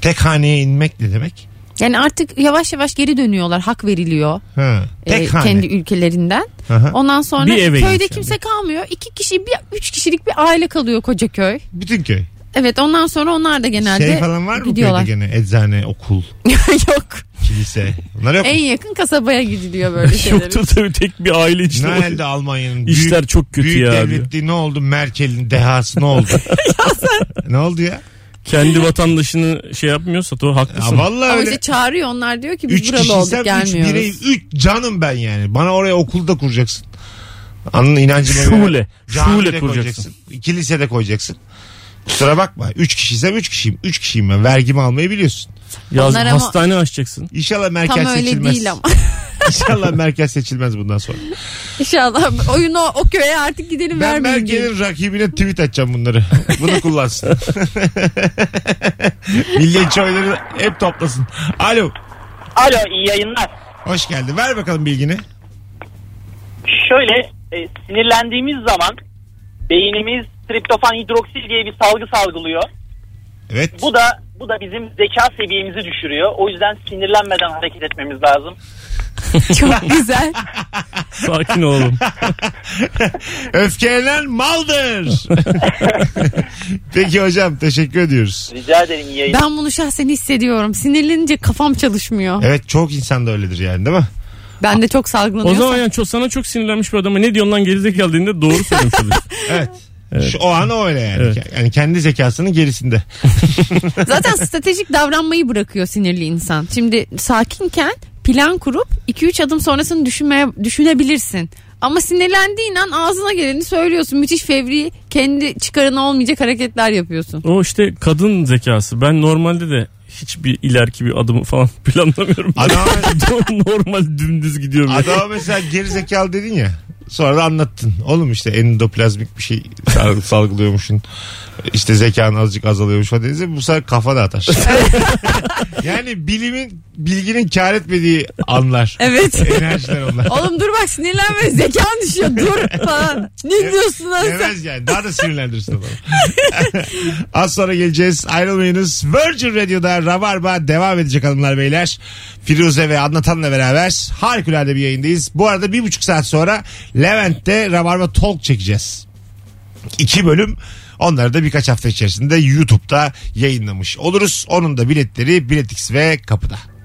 Speaker 2: Tek haneye inmek ne demek?
Speaker 4: Yani artık yavaş yavaş geri dönüyorlar. Hak veriliyor
Speaker 2: Ha.
Speaker 4: e,
Speaker 2: Tek hane.
Speaker 4: kendi ülkelerinden.
Speaker 2: Aha.
Speaker 4: Ondan sonra
Speaker 3: Bir eve
Speaker 4: köyde
Speaker 3: geçiyor.
Speaker 4: kimse kalmıyor. İki kişi, bir, üç kişilik bir aile kalıyor koca köy.
Speaker 2: Bütün köy.
Speaker 4: Evet ondan sonra onlar da genelde
Speaker 2: şey falan var mı
Speaker 4: gidiyorlar.
Speaker 2: köyde gene? Eczane, okul,
Speaker 4: Yok.
Speaker 2: kilise. Bunlar yok mu?
Speaker 4: En yakın kasabaya gidiliyor böyle şeyler.
Speaker 3: Yoktur tabii tek bir aile
Speaker 2: Ne
Speaker 3: içinde.
Speaker 2: halde Almanya'nın büyük,
Speaker 3: İşler çok kötü
Speaker 2: büyük
Speaker 3: ya diyor.
Speaker 2: devletliği ne oldu? Merkel'in dehası ne oldu? ne oldu ya?
Speaker 3: Kendi vatandaşını şey yapmıyorsa o
Speaker 2: ya
Speaker 3: haklısın.
Speaker 2: vallahi
Speaker 4: Ama
Speaker 2: öyle.
Speaker 4: işte çağırıyor onlar diyor ki biz
Speaker 2: Üç
Speaker 4: buralı
Speaker 2: kişiysem
Speaker 4: olduk
Speaker 2: üç
Speaker 4: gelmiyoruz.
Speaker 2: birey, üç canım ben yani. Bana oraya okulda kuracaksın. Anın inancıma göre.
Speaker 3: Şule.
Speaker 2: Camide
Speaker 3: Şule kuracaksın.
Speaker 2: koyacaksın. Kilisede koyacaksın. Kusura bakma. Üç kişiysem üç kişiyim. Üç kişiyim ben. Vergimi almayı biliyorsun.
Speaker 3: Yaz,
Speaker 4: Onlar ama-
Speaker 3: hastane açacaksın.
Speaker 2: İnşallah merkez
Speaker 4: Tam
Speaker 2: seçilmez.
Speaker 4: öyle değil ama.
Speaker 2: İnşallah merkez seçilmez bundan sonra.
Speaker 4: İnşallah oyunu o köye artık gidelim
Speaker 2: Ben
Speaker 4: vermeyin diye.
Speaker 2: Merkel'in rakibine tweet atacağım bunları. Bunu kullansın. Milliyetçi oyları hep toplasın. Alo.
Speaker 6: Alo iyi yayınlar.
Speaker 2: Hoş geldin. Ver bakalım bilgini.
Speaker 6: Şöyle e, sinirlendiğimiz zaman beynimiz triptofan hidroksil diye bir salgı salgılıyor.
Speaker 2: Evet.
Speaker 6: Bu da bu da bizim zeka seviyemizi düşürüyor. O yüzden sinirlenmeden hareket etmemiz lazım.
Speaker 4: Çok güzel.
Speaker 3: Sakin olalım.
Speaker 2: Öfkelenen maldır. Peki hocam teşekkür ediyoruz.
Speaker 6: Rica ederim iyi yayınlar.
Speaker 4: Ben bunu şahsen hissediyorum. Sinirlenince kafam çalışmıyor.
Speaker 2: Evet çok insan da öyledir yani değil mi?
Speaker 4: Ben de çok
Speaker 3: o zaman
Speaker 4: salgılanıyorsam.
Speaker 3: yani çok, sana çok sinirlenmiş bir adama ne diyorsun lan geri geldiğinde doğru söylemiş oluyorsun.
Speaker 2: Evet. Şu, o an öyle yani.
Speaker 3: Evet.
Speaker 2: Yani kendi zekasının gerisinde.
Speaker 4: Zaten stratejik davranmayı bırakıyor sinirli insan. Şimdi sakinken plan kurup 2-3 adım sonrasını düşünmeye düşünebilirsin. Ama sinirlendiğin an ağzına geleni söylüyorsun. Müthiş fevri, kendi çıkarına olmayacak hareketler yapıyorsun.
Speaker 3: O işte kadın zekası. Ben normalde de hiçbir ileriki bir adımı falan planlamıyorum.
Speaker 2: Adam,
Speaker 3: Normal dümdüz gidiyorum.
Speaker 2: adama mesela geri zekalı dedin ya. Sonra da anlattın. Oğlum işte endoplazmik bir şey sal- salgılıyormuşsun. İşte zekan azıcık azalıyormuş falan dediniz ya, bu sefer kafa da atar. yani bilimin bilginin kar etmediği anlar.
Speaker 4: Evet.
Speaker 2: Enerjiler onlar.
Speaker 4: Oğlum dur bak sinirlenme zekan düşüyor dur falan. Ne diyorsun lan sen?
Speaker 2: Yemez yani. Daha da sinirlendirsin adamı. Az sonra geleceğiz. Ayrılmayınız. Virgin Radio'da Rabarba devam edecek hanımlar beyler. Firuze ve Anlatan'la beraber harikulade bir yayındayız. Bu arada bir buçuk saat sonra Levent'te Rabarba Talk çekeceğiz. İki bölüm Onları da birkaç hafta içerisinde YouTube'da yayınlamış oluruz. Onun da biletleri Biletix ve kapıda.